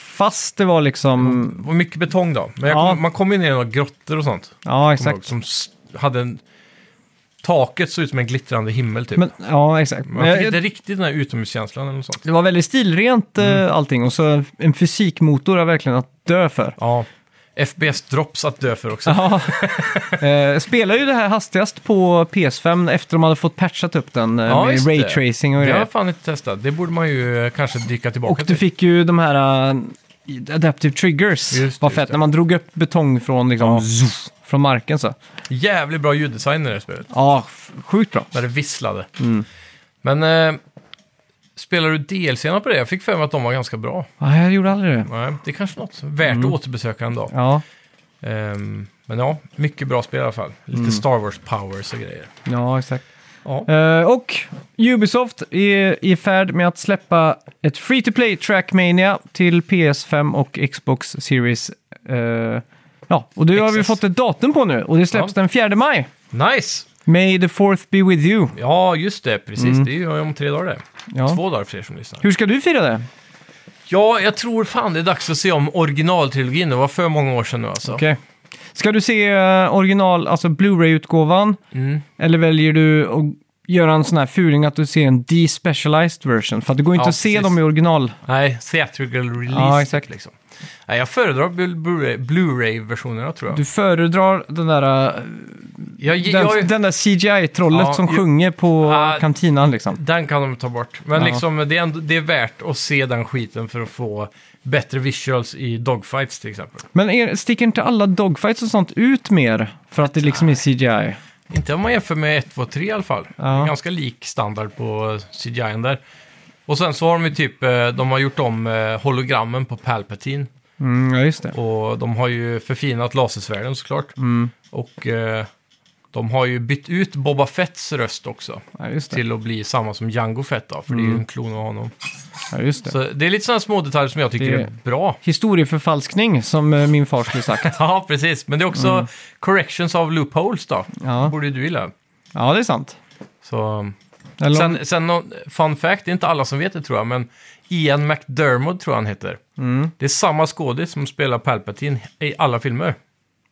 S1: fast det var liksom...
S2: Och mycket betong då. Men jag
S1: Ja.
S2: kom, man kommer ju ner i några grottor och sånt.
S1: Ja,
S2: kommer
S1: exakt.
S2: ihåg, Som s- hade en... Taket såg ut som en glittrande himmel typ.
S1: Men, ja, exakt.
S2: man
S1: Men
S2: fick
S1: jag-
S2: inte riktigt den här utomhuskänslan eller något sånt.
S1: Det var väldigt stilrent eh,
S2: Mm.
S1: allting och så en fysikmotor är verkligen att dö för.
S2: Ja. FBS-drops att dö för också.
S1: Ja. eh, spelar ju det här hastigast på PS5 efter de hade fått patchat upp den eh,
S2: Ja,
S1: med
S2: just det.
S1: raytracing och
S2: Det har
S1: grejer.
S2: jag fan inte testat. Det borde man ju eh, kanske dyka tillbaka
S1: Och du
S2: till.
S1: fick ju de här eh, adaptive triggers.
S2: Just det,
S1: Vad
S2: just
S1: fett,
S2: det.
S1: när man drog upp betong från, liksom, zoof, från marken så.
S2: Jävligt bra ljuddesign i det här spelet.
S1: Ja, f- sjukt bra.
S2: När det visslade.
S1: Mm.
S2: Men eh, spelar du DLC-erna på det? Jag fick för mig att de var ganska bra.
S1: Nej, jag gjorde aldrig det.
S2: Nej, det är kanske något värt
S1: Mm.
S2: att återbesöka en dag.
S1: Ja,
S2: Ehm, men ja, mycket bra spel i alla fall. Lite Star Wars-powers och grejer.
S1: Mm. ja exakt.
S2: Ja.
S1: Eh, och Ubisoft är i färd med att släppa ett free to play Trackmania till PS5 och Xbox Series. eh, ja, och det har vi
S2: XS.
S1: fått ett datum på nu och det släpps
S2: Ja.
S1: den 4 maj.
S2: Nice!
S1: May the fourth be with you.
S2: Ja, just det. Precis. Det är ju om tre dagar det.
S1: Mm. Ja.
S2: Två dagar för er som lyssnar.
S1: Hur ska du fira det?
S2: Ja, jag tror fan det är dags att se om originaltrilogin. Det var för många år sedan nu alltså.
S1: Okej. Ska du se eh, original, alltså Blu-ray-utgåvan?
S2: Mm.
S1: Eller väljer du att göra en sån här furing att du ser en despecialized version? För att det går inte
S2: Ja,
S1: att se
S2: precis.
S1: dem i original.
S2: Nej, theatrical release.
S1: Ja, exakt.
S2: Liksom. Nej, jag föredrar Blu- Blu-ray- Blu-ray-versionerna tror jag.
S1: Du föredrar den där eh,
S2: jag, jag,
S1: Den,
S2: jag
S1: den där CGI-trollet
S2: Ja,
S1: som
S2: ju-
S1: sjunger på
S2: Ja.
S1: kantinan liksom.
S2: Den kan de ta bort. Men
S1: Ja.
S2: liksom, det, är ändå, det är värt att se den skiten för att få bättre visuals i dogfights till exempel.
S1: Men är, sticker inte alla dogfights och sånt ut mer för att det liksom är CGI?
S2: Inte om man jämför med 1, 2, 3 i alla fall.
S1: Ja.
S2: Det är ganska lik standard på CGI n där. Och sen så har de ju typ, eh, de har gjort om eh, hologrammen på Palpatine.
S1: Mm, ja, just det.
S2: Och de har ju förfinat lasersvärden såklart.
S1: Mm.
S2: Och eh, de har ju bytt ut Boba Fetts röst också.
S1: Ja, just det.
S2: Till att bli samma som Django Fett då, för det är ju en klon av honom.
S1: Mm. Ja, just det.
S2: Så det är lite sådana små detaljer som jag tycker
S1: Det-
S2: är bra.
S1: Historieförfalskning, som eh, min far skulle sagt.
S2: Ja, precis. Men det är också corrections av loopholes då.
S1: Mm. Ja.
S2: borde ju du gilla.
S1: Ja, det är sant.
S2: Så...
S1: Eller om,
S2: Sen, sen någon, fun fact, det är inte alla som vet det tror jag, men Ian McDermott tror jag han heter.
S1: Mm.
S2: Det är samma skådis som spelar Palpatine i alla filmer.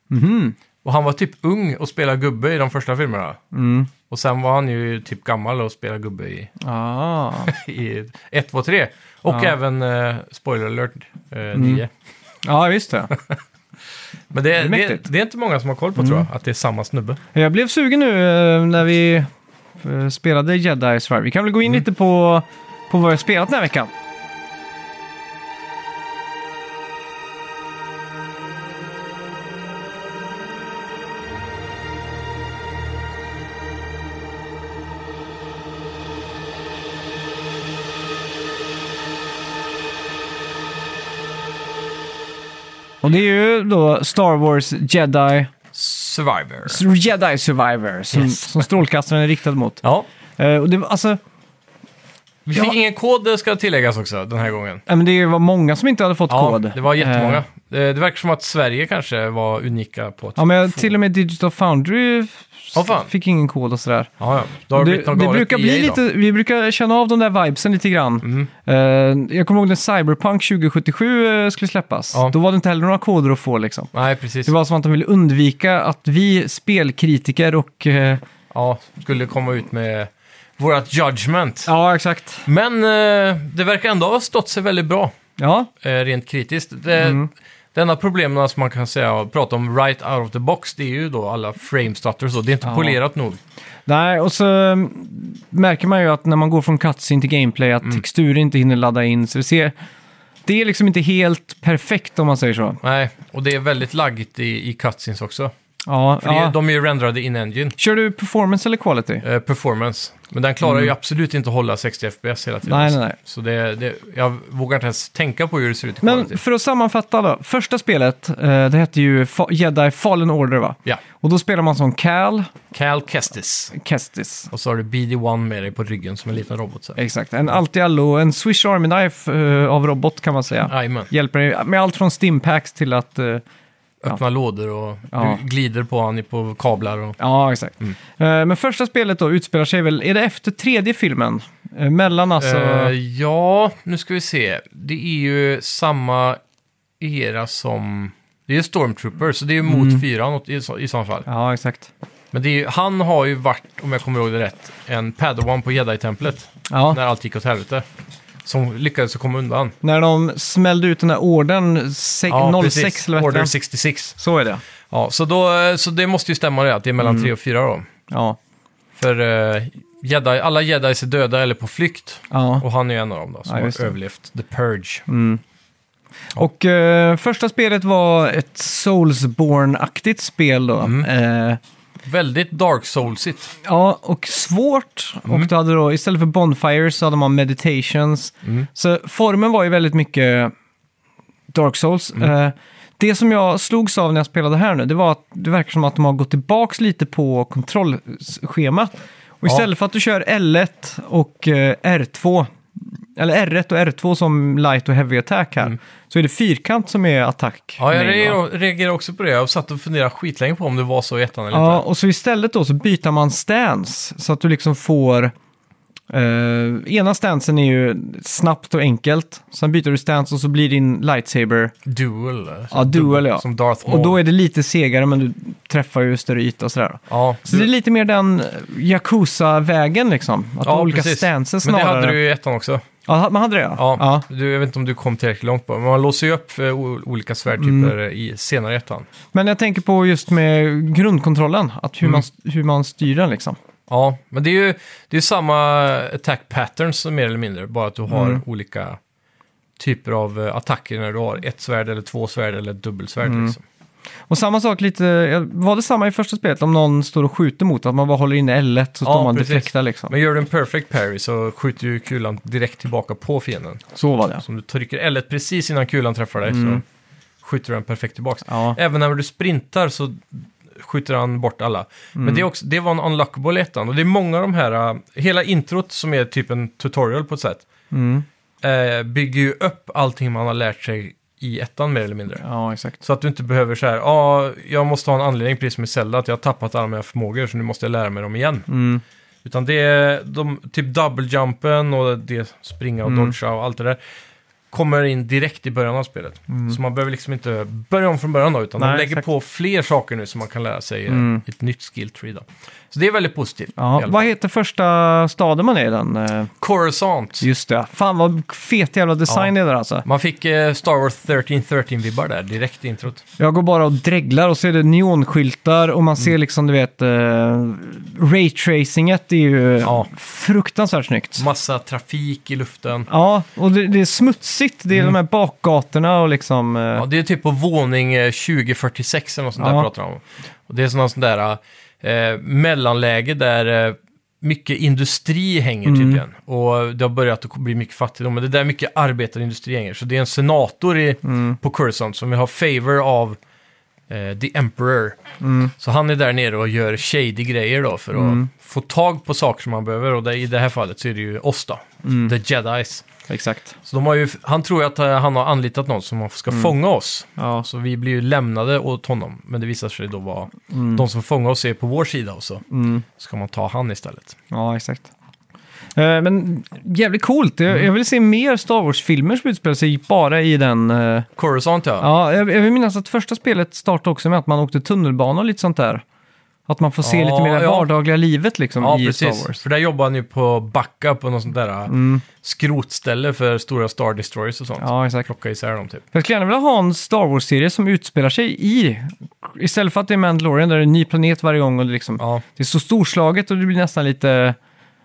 S1: Mhm.
S2: Och han var typ ung och spelade gubbe i de första filmerna.
S1: Mm.
S2: Och sen var han ju typ gammal och spelade gubbe i,
S1: Ah.
S2: i 1, 2, 3. Och även, eh, spoiler alert, eh,
S1: Mm.
S2: 9.
S1: Ja, just det.
S2: Men det, det, det,
S1: Mäktigt. Mm.
S2: är inte många som har koll på tror jag, att det är samma snubbe.
S1: Jag blev sugen nu eh, när vi eh, spelade Jedi Survivor. Vi kan väl gå in lite på, på vad jag spelat den här veckan. Och det är ju då Star Wars Jedi
S2: Survivor.
S1: Jedi Survivor som,
S2: Yes.
S1: som strålkastaren är riktad mot.
S2: Ja.
S1: Eh, och det, var- alltså,
S2: Vi
S1: Ja.
S2: fick ingen kod ska tilläggas också den här gången.
S1: nej, men det var många som inte hade fått
S2: Ja,
S1: kod.
S2: det var jättemånga.
S1: Eh,
S2: Eh, Det verkar som att Sverige kanske var unika på att
S1: ja, men jag-
S2: få-
S1: till och med Digital Foundry f-
S2: Åh, fan.
S1: fick ingen kod och sådär.
S2: Ja, ja. Då har det,
S1: Det,
S2: blivit något
S1: det
S2: galet
S1: brukar
S2: i
S1: bli
S2: EA då. Mhm.
S1: lite, vi brukar känna av de där vibesen lite grann. Eh, jag kommer ihåg när Cyberpunk 2077 eh, skulle släppas.
S2: Ja.
S1: Då var det inte heller några koder att få liksom.
S2: Nej, precis.
S1: Det var som att de ville undvika att vi spelkritiker och... eh,
S2: Ja, skulle komma ut med vårat judgment.
S1: ja, exakt.
S2: Men eh, det verkar ändå ha stått sig väldigt bra,
S1: Ja,
S2: eh, rent kritiskt. Det,
S1: Mm.
S2: det enda problemen som man kan säga, och prata om right out of the box, det är ju då alla frame stutters och det är inte
S1: Ja.
S2: polerat nog.
S1: Nej, och så mm, märker man ju att när man går från cutscene till gameplay att
S2: Mm.
S1: texturer inte hinner ladda in. Så det, ser, det är liksom inte helt perfekt om man säger så.
S2: Nej, och det är väldigt laggigt i, i cutscenes också.
S1: Ja,
S2: För det-
S1: ja.
S2: De är ju renderade in-engine,
S1: Kör du performance eller quality?
S2: eh, performance. Men den klarar ju absolut inte att hålla 60 FPS hela tiden.
S1: Mm. Nej, nej, nej.
S2: Så det, det, jag vågar inte ens tänka på hur det ser ut i quality.
S1: Men för att sammanfatta då. Första spelet, eh, det hette ju Fa- Jedi Fallen Order va?
S2: Ja,
S1: Och då spelar man som Cal
S2: Cal Kestis.
S1: Kestis.
S2: Och så har du BD-1 med dig på ryggen som en liten robot. så här.
S1: Exakt, en allt i allo, en Swish Army Knife eh, av robot kan man säga.
S2: Jajamän.
S1: Hjälper dig med allt från stimpacks till att eh,
S2: Öppna lådor och
S1: Ja.
S2: du glider på han på kablar. Och...
S1: Ja, exakt.
S2: Mm.
S1: Eh, Men första spelet då utspelar sig väl, är det efter tredje filmen? Eh, Mellan alltså...
S2: Eh, ja, nu ska vi se. Det är ju samma era som... Det är ju Stormtrooper, så det är ju mot
S1: Mm.
S2: fyran åt- i, så- i så fall.
S1: Ja, exakt.
S2: Men det är ju, han har ju varit, om jag kommer ihåg det rätt, en padawan på jedi-templet.
S1: Ja,
S2: När allt gick åt helvete. Som lyckades att komma undan.
S1: när de smällde ut den här orden se- 06
S2: precis.
S1: eller vad heter
S2: Order
S1: den?
S2: 66.
S1: Så är det.
S2: Ja, så, då, så det måste ju stämma det, att det är
S1: Mm.
S2: mellan 3 och 4 då.
S1: Ja.
S2: För eh, jedi, alla jedis är döda eller på flykt.
S1: ja.
S2: Och han är ju en av dem då, som
S1: Ja, just
S2: har
S1: det. Mm.
S2: överlevt The Purge.
S1: Och eh, första spelet var ett Soulsborne-aktigt spel då.
S2: Mm.
S1: Eh,
S2: Väldigt Dark Soulsigt.
S1: ja, och svårt.
S2: Mm.
S1: Och då hade då, istället för Bonfires så hade man Meditations.
S2: Mm.
S1: Så formen var ju väldigt mycket Dark Souls.
S2: Mm.
S1: Eh, det som jag slogs av när jag spelade här nu, det var att det verkar som att de har gått tillbaks lite på kontrollschemat. Och
S2: Ja.
S1: istället för att du kör L1 och eh, R2, eller R1 och R2 som light och heavy attack här, så är det fyrkant som är attack.
S2: Mm. Ja, jag
S1: main, va?
S2: reagerar- reagerar också på det. Jag satt och funderade skitlänge på om det var så i ettan eller
S1: Ja,
S2: inte.
S1: och så istället då så byter man stance så att du liksom får... eh, ena stansen är ju snabbt och enkelt. Sen byter du stance och så blir din lightsaber...
S2: Duel. eller så.
S1: Ja, duel, ja.
S2: Som Darth Maul.
S1: Och då är det lite segare men du träffar ju större yta och sådär.
S2: Ja,
S1: Så det är lite mer den eh, Yakuza-vägen liksom. Att du har olika stanser
S2: Men det
S1: snarare.
S2: hade du ju i ettan också.
S1: Ja, man hade det ja.
S2: Ja,
S1: ja.
S2: Du, jag vet inte om du kom tillräckligt långt på det, men man låser ju upp eh, o- olika svärdtyper eh, i senare i ettan.
S1: Men jag tänker på just med grundkontrollen. Att hur,
S2: Mm.
S1: man, hur man styr den liksom.
S2: Ja, men det är ju det är samma attack patterns som mer eller mindre, bara att du har olika typer av eh, attacker när du har ett svärd eller två svärd eller ett dubbelsvärd. Liksom.
S1: Och samma sak lite, var det samma i första spelet om någon står och skjuter mot att man bara håller inne L1 så
S2: Ja,
S1: står man
S2: precis.
S1: deflekta liksom.
S2: Men gör du en perfect parry så skjuter ju kulan direkt tillbaka på fienden.
S1: Så var det.
S2: Så om du trycker L1 precis innan kulan träffar dig så skjuter den perfekt tillbaka.
S1: Ja.
S2: Även när du sprintar så skjuter han bort alla. Men
S1: Mm.
S2: det, är också, det var en unlockable i ettan. Och det är många av de här, äh, hela introt som är typ en tutorial på ett sätt,
S1: Mm.
S2: eh, bygger ju upp allting man har lärt sig i ettan mer eller mindre.
S1: Ja, exakt.
S2: Så att du inte behöver så här, ja, jag måste ha en anledning precis som i Zelda, att jag har tappat alla mina förmågor så nu måste jag lära mig dem igen.
S1: Mm.
S2: Utan det är de, typ double jumpen och det springa och
S1: Mm.
S2: dodga och allt det där. Kommer in direkt i början av spelet. Så man behöver liksom inte börja om från början då, utan de
S1: Mm. Nej,
S2: lägger
S1: exakt. Mm.
S2: på fler saker nu som man kan lära sig eh, i ett nytt skill tree då. Så det är väldigt positivt. i alla
S1: Ja,
S2: fall.
S1: vad heter första staden man är i den? Eh,
S2: Coruscant.
S1: Just det. Fan vad fet jävla design det är där alltså.
S2: Man fick eh, Star Wars 1313-vibbar där direkt i introt.
S1: Jag går bara och dreglar och ser det neonskyltar och man
S2: Mm.
S1: ser liksom, du vet, eh, raytracinget är ju
S2: Ja.
S1: fruktansvärt snyggt.
S2: Massa trafik i luften.
S1: Ja, och det, det är smutsigt. Det är de här bakgatorna och liksom... eh,
S2: Mm. Ja, det är typ på våning eh, 2046 eller något sånt där
S1: Ja.
S2: pratar de om. Och det är sådana sån där eh, mellanläge där eh, mycket industri hänger tydligen. Och det har börjat att bli mycket fattigdom. Men det är där mycket arbetarindustri hänger. Så det är en senator i, på Coruscant som vill ha favor av eh, The Emperor. Så han är där nere och gör shady grejer då för att få tag på saker som man behöver. Och det, i det här fallet så är det ju oss då, The Jedis.
S1: Exakt.
S2: Så de har ju, han tror ju att eh, han har anlitat någon som ska fånga oss.
S1: Ja.
S2: Så Alltså, vi blir ju lämnade åt honom. Men det visar sig då vara
S1: Mm.
S2: de som fångar oss är på vår sida och så ska man ta han istället.
S1: ja, exakt. Eh, Men jävligt coolt. Jag,
S2: Mm.
S1: jag vill se mer Star Wars-filmer som utspelar sig bara i den... eh,
S2: Coruscant ja.
S1: Ja, jag, jag vill minnas att första spelet startade också med att man åkte tunnelbana och lite sånt där. Att man får se
S2: Ja,
S1: lite mer det
S2: ja.
S1: vardagliga livet liksom i Star Wars. Mm.
S2: För där jobbar han ju på Backa på något sånt där eh, skrotställe för stora Star Destroyers och sånt.
S1: Ja, exakt.
S2: Plocka isär dem typ.
S1: Jag skulle gärna vilja ha en Star Wars-serie som utspelar sig i... Istället för att det är Mandalorian där det är en ny planet varje gång och det, liksom,
S2: Ja.
S1: det är så storslaget och det blir nästan lite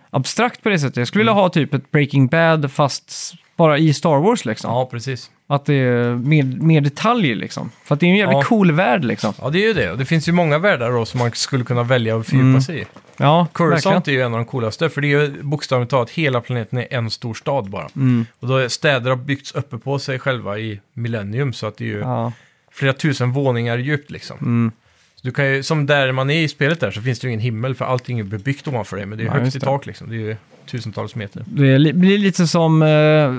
S1: abstrakt på det sättet. Jag skulle
S2: Mm.
S1: vilja ha typ ett Breaking Bad fast s- bara i Star Wars liksom.
S2: ja, precis.
S1: Att det är mer, mer detaljer liksom. För att det är en jävligt
S2: Ja.
S1: cool värld liksom.
S2: Ja, det är ju det. Och det finns ju många världar då som man skulle kunna välja att fördjupa sig i.
S1: Ja, Mm. verkligen.
S2: Coruscant är ju en av de coolaste, för det är ju bokstavligt talat hela planeten är en stor stad bara.
S1: Mm.
S2: Och då är städer har byggts uppe på sig själva i millennium, så att det är ju
S1: Ja.
S2: flera tusen våningar djupt liksom.
S1: Mm.
S2: Så du kan ju, som där man är i spelet där så finns det ju ingen himmel, för allting är bebyggt ovanför dig, men det är
S1: Ja,
S2: högt
S1: just
S2: i
S1: det.
S2: tak liksom. Det är ju tusentals meter.
S1: Det li- blir lite som eh,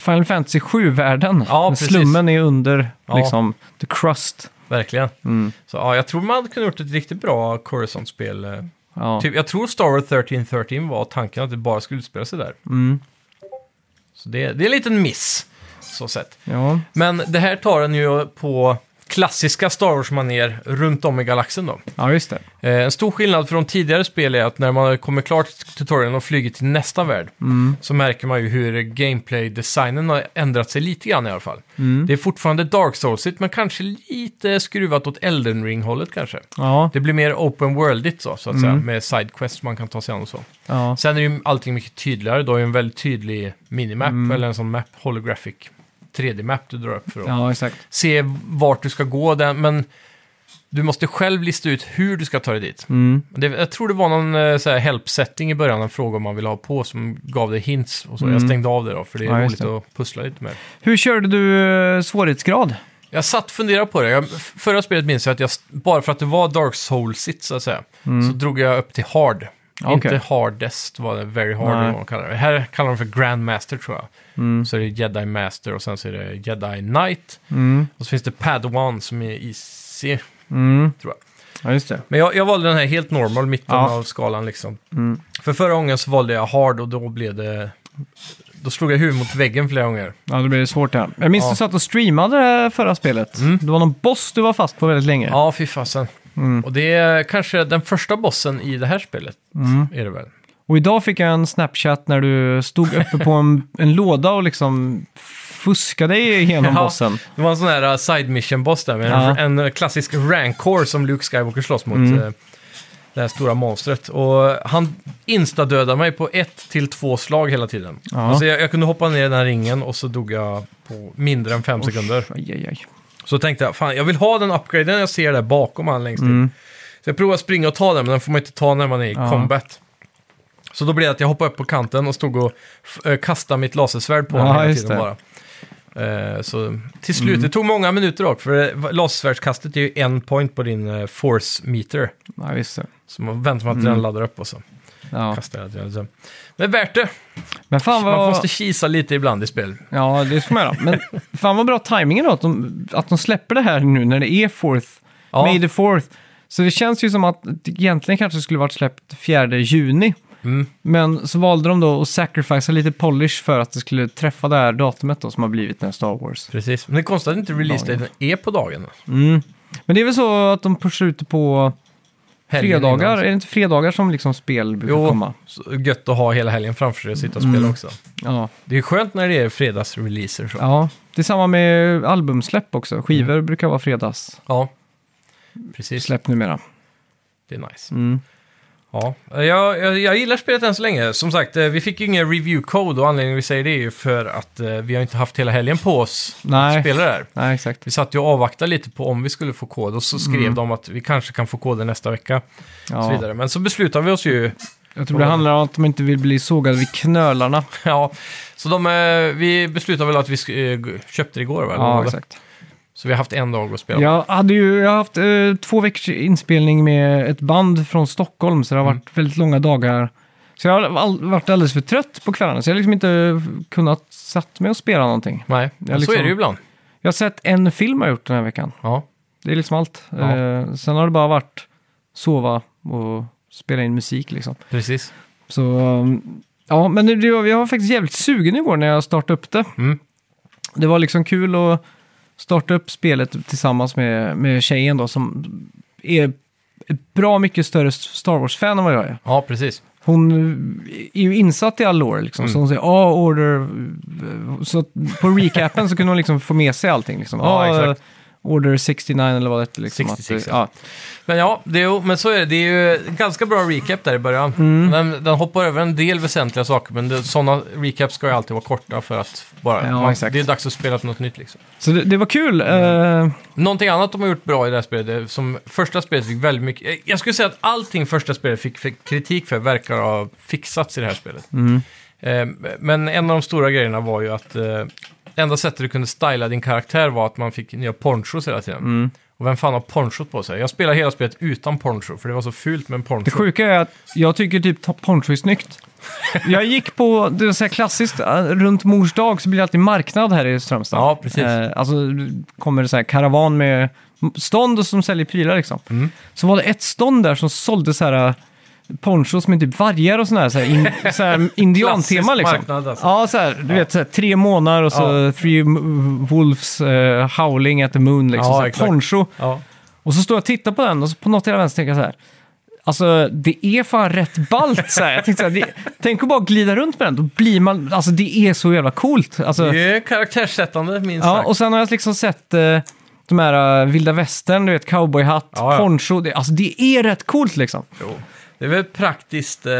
S1: Final Fantasy 7-världen.
S2: Ja,
S1: När
S2: precis.
S1: Slummen är under
S2: Ja.
S1: liksom, the crust.
S2: Verkligen.
S1: Mm.
S2: Så ja, jag tror man kunde gjort ett riktigt bra Coruscant-spel. eh,
S1: Ja.
S2: Typ, jag tror Star Wars 1313 var tanken att det bara skulle utspela sig där.
S1: Mm.
S2: Så det, det är en liten miss, så sett.
S1: Ja.
S2: Men det här tar den ju på klassiska Star Wars-manér runt om i galaxen då.
S1: ja, just det.
S2: Eh, en stor skillnad från tidigare spel är att när man kommer klart tutorialen och flyger till nästa värld så märker man ju hur gameplay-designen har ändrat sig lite grann i alla fall. Det är fortfarande Dark Soulsigt men kanske lite skruvat åt Elden Ring-hållet kanske.
S1: Ja,
S2: Det blir mer open worldigt så, så att säga, med sidequests man kan ta sig an och så.
S1: ja.
S2: Sen är ju allting mycket tydligare, du har ju en väldigt tydlig minimap, eller en sån map, holographic 3D-map du drar upp för att
S1: ja exakt.
S2: se vart du ska gå, där, men du måste själv lista ut hur du ska ta dig dit.
S1: Mm.
S2: Det, jag tror det var någon eh, så här help-setting i början, en fråga om man ville ha på, som gav dig hints och så. Jag stängde av det då, för det är
S1: Mm. Ja, just
S2: roligt
S1: det.
S2: att pussla lite med.
S1: Hur körde du eh, svårighetsgrad?
S2: Jag satt och funderade på det. Jag, f- förra spelet minns jag att jag, st- bara för att det var Dark Souls-igt så att säga, så drog jag upp till Hard.
S1: Mm. Ja,
S2: Inte
S1: okej.
S2: Hardest var det, Very Hard
S1: Nej. Mm.
S2: eller vad de kallar det. Här kallar de för Grandmaster tror jag. Så är det Jedi Master och sen så är det Jedi Knight.
S1: Mm.
S2: Och så finns det Padawan som är IC, tror jag.
S1: Mm. Ja, just det.
S2: Men jag, jag valde den här helt normal, mitten
S1: Ja. Mm.
S2: av skalan liksom. För förra gången så valde jag Hard och då blev det... Då slog jag huvudet mot väggen flera gånger.
S1: Ja, då blir det svårt här. Jag minns
S2: Ja. Mm.
S1: du satt och streamade det här förra spelet. Det var någon boss du var fast på väldigt länge.
S2: Ja, fy fasen.
S1: Mm.
S2: Och det är kanske den första bossen i det här spelet.
S1: Mm.
S2: Är det väl?
S1: Och idag fick jag en Snapchat när du stod uppe på en, en låda och liksom fuskade dig igenom
S2: Ja.
S1: bossen.
S2: Det var en sån här uh, side mission-boss där med
S1: Ja. Mm.
S2: en, en klassisk rancor som Luke Skywalker slåss mot. eh, Det här stora monstret. Och han instadödade mig på ett till två slag hela tiden.
S1: Ja.
S2: Alltså jag, jag kunde hoppa ner i den här ringen och så dog jag på mindre än fem sekunder. Typ.
S1: Aj, aj, aj.
S2: Så tänkte jag, fan jag vill ha den upgraden jag ser där bakom han längst in. Så jag provade att springa och ta den, men den får man inte ta när man är i
S1: Mm. Ja.
S2: combat. Så då blev det att jag hoppade upp på kanten och stod och f- eh, kastade mitt lasersvärd på
S1: Ja,
S2: honom hela
S1: just Mm.
S2: tiden bara. Eh, Så till slut, det tog många minuter dock, för eh, lasersvärdskastet är ju en point på din eh, force meter.
S1: Ja, visst. det.
S2: Så man väntar man att den laddar upp och så
S1: Mm. Ja.
S2: kastar jag den. Så- Men värt det!
S1: Men fan vad...
S2: Man måste kisa lite ibland i spel.
S1: Ja, det ska man göra. Men fan vad bra tajmingen då, att de, att de släpper det här nu när det är fourth.
S2: Ja.
S1: May the fourth. Så det känns ju som att det egentligen kanske skulle varit släppt 4 juni.
S2: Mm.
S1: Men så valde de då att sacrificea lite polish för att det skulle träffa det här datumet då som har blivit den här Star Wars. Mm.
S2: Precis, men det är konstigt att inte release-daten är på dagen.
S1: Men det är väl så att de pushar ut det på
S2: Helgen
S1: fredagar?
S2: innan.
S1: Är det inte fredagar som liksom spel brukar
S2: Jo,
S1: komma?
S2: så gött att ha hela helgen framför sig och sitta och spela också.
S1: Ja.
S2: Det är skönt när det är fredagsreleaser. Så. Ja.
S1: Mm. ja. Det är samma med albumsläpp också. Skivor
S2: Mm.
S1: brukar vara fredagssläpp
S2: precis.
S1: numera.
S2: Det är nice.
S1: Mm.
S2: Ja, jag, jag, jag gillar spelet än så länge. Som sagt, eh, vi fick ju ingen review code och anledningen vi säger det är ju för att eh, vi har inte haft hela helgen på oss
S1: Nej.
S2: att spela det här.
S1: Nej, exakt.
S2: Vi satt ju och avvaktade lite på om vi skulle få kod och så skrev de att vi kanske kan få koden nästa vecka. Och så
S1: Mm. Ja.
S2: vidare. Men så beslutade vi oss ju
S1: Jag tror det handlar om att de inte vill bli sågade vid knölarna.
S2: Ja, så de, eh, vi beslutade väl att vi sk- eh, g- köpte det igår, va? Eller vad var
S1: Ja,
S2: det?
S1: exakt.
S2: Så vi har haft en dag att spela.
S1: Jag hade ju jag har haft eh, två veckors inspelning med ett band från Stockholm, så det
S2: Mm.
S1: har varit väldigt långa dagar. Så jag har all, varit alldeles för trött på kvällarna, så jag har liksom inte kunnat satt mig och spela någonting.
S2: Nej, men
S1: liksom-
S2: så är det ju ibland.
S1: Jag har sett en film jag har gjort den här veckan.
S2: Ja,
S1: Det är liksom allt.
S2: Ja.
S1: Eh, sen har det bara varit sova och spela in musik liksom.
S2: precis.
S1: Så um, ja, men det, jag var faktiskt jävligt sugen igår när jag startade upp det.
S2: Mm.
S1: Det var liksom kul att starta upp spelet tillsammans med, med tjejen då som är ett bra mycket större Star Wars-fan än vad jag är.
S2: Ja, precis.
S1: Hon är ju insatt i all lore liksom,
S2: Mm.
S1: så hon säger ja, order... Så att på recapen så kunde hon liksom få med sig allting liksom.
S2: Ja,
S1: "Ah,
S2: exakt.
S1: Order 69 eller vad det hette liksom.
S2: 66,
S1: att, ja.
S2: Men ja, det är, ju- men så är det. Det är ju ganska bra recap där i början. Den, den hoppar över en del väsentliga saker, men det- sådana recaps ska ju alltid vara korta för att bara...
S1: Ja,
S2: man,
S1: exakt.
S2: det är dags att spela på något nytt liksom.
S1: Så det, det var kul. eh,
S2: Någonting annat de har gjort bra i det här spelet, är- som första spelet fick väldigt mycket... eh, Jag skulle säga att allting första spelet fick, fick kritik för verkar ha fixats i det här spelet.
S1: Mm.
S2: Eh, men en av de stora grejerna var ju att eh, enda sättet du kunde styla din karaktär var att man fick nya ponchos hela tiden.
S1: Mm.
S2: Och vem fan har ponchos på sig? Jag spelar hela spelet utan poncho, för det var så fult med en poncho.
S1: Det sjuka är att jag tycker typ ta- poncho är snyggt. Jag gick på, det är så här klassiskt, eh, runt mors dag så blir det alltid marknad här i Strömstad.
S2: Ja, precis.
S1: Eh, alltså det kommer det så här karavan med stånd som säljer prylar liksom.
S2: Mm.
S1: Så var det ett stånd där som sålde så här eh, ponchos med typ vargar och sån här, så här, in, så här indiantema
S2: Klassisk
S1: liksom.
S2: marknad, alltså.
S1: Ja, så här, du vet så här, tre månader och så
S2: Ja.
S1: Three m- Wolves eh, Howling at the Moon liksom.
S2: Ja,
S1: så här,
S2: exakt.
S1: poncho.
S2: Ja,
S1: Och så står jag och tittar på den och så på något jävla vänster tänker jag så här. Alltså det är fan rätt ballt så här. Jag tänkte så här det, tänk att bara glida runt med den. Då blir man, alltså det är så jävla coolt. Alltså,
S2: det är karaktärssättande minst
S1: ja,
S2: sagt.
S1: och sen har jag liksom sett eh, de här eh, vilda västern, du vet cowboyhatt,
S2: Ja, ja.
S1: poncho. Det, alltså det är rätt coolt liksom.
S2: Jo. Det är väl praktiskt eh,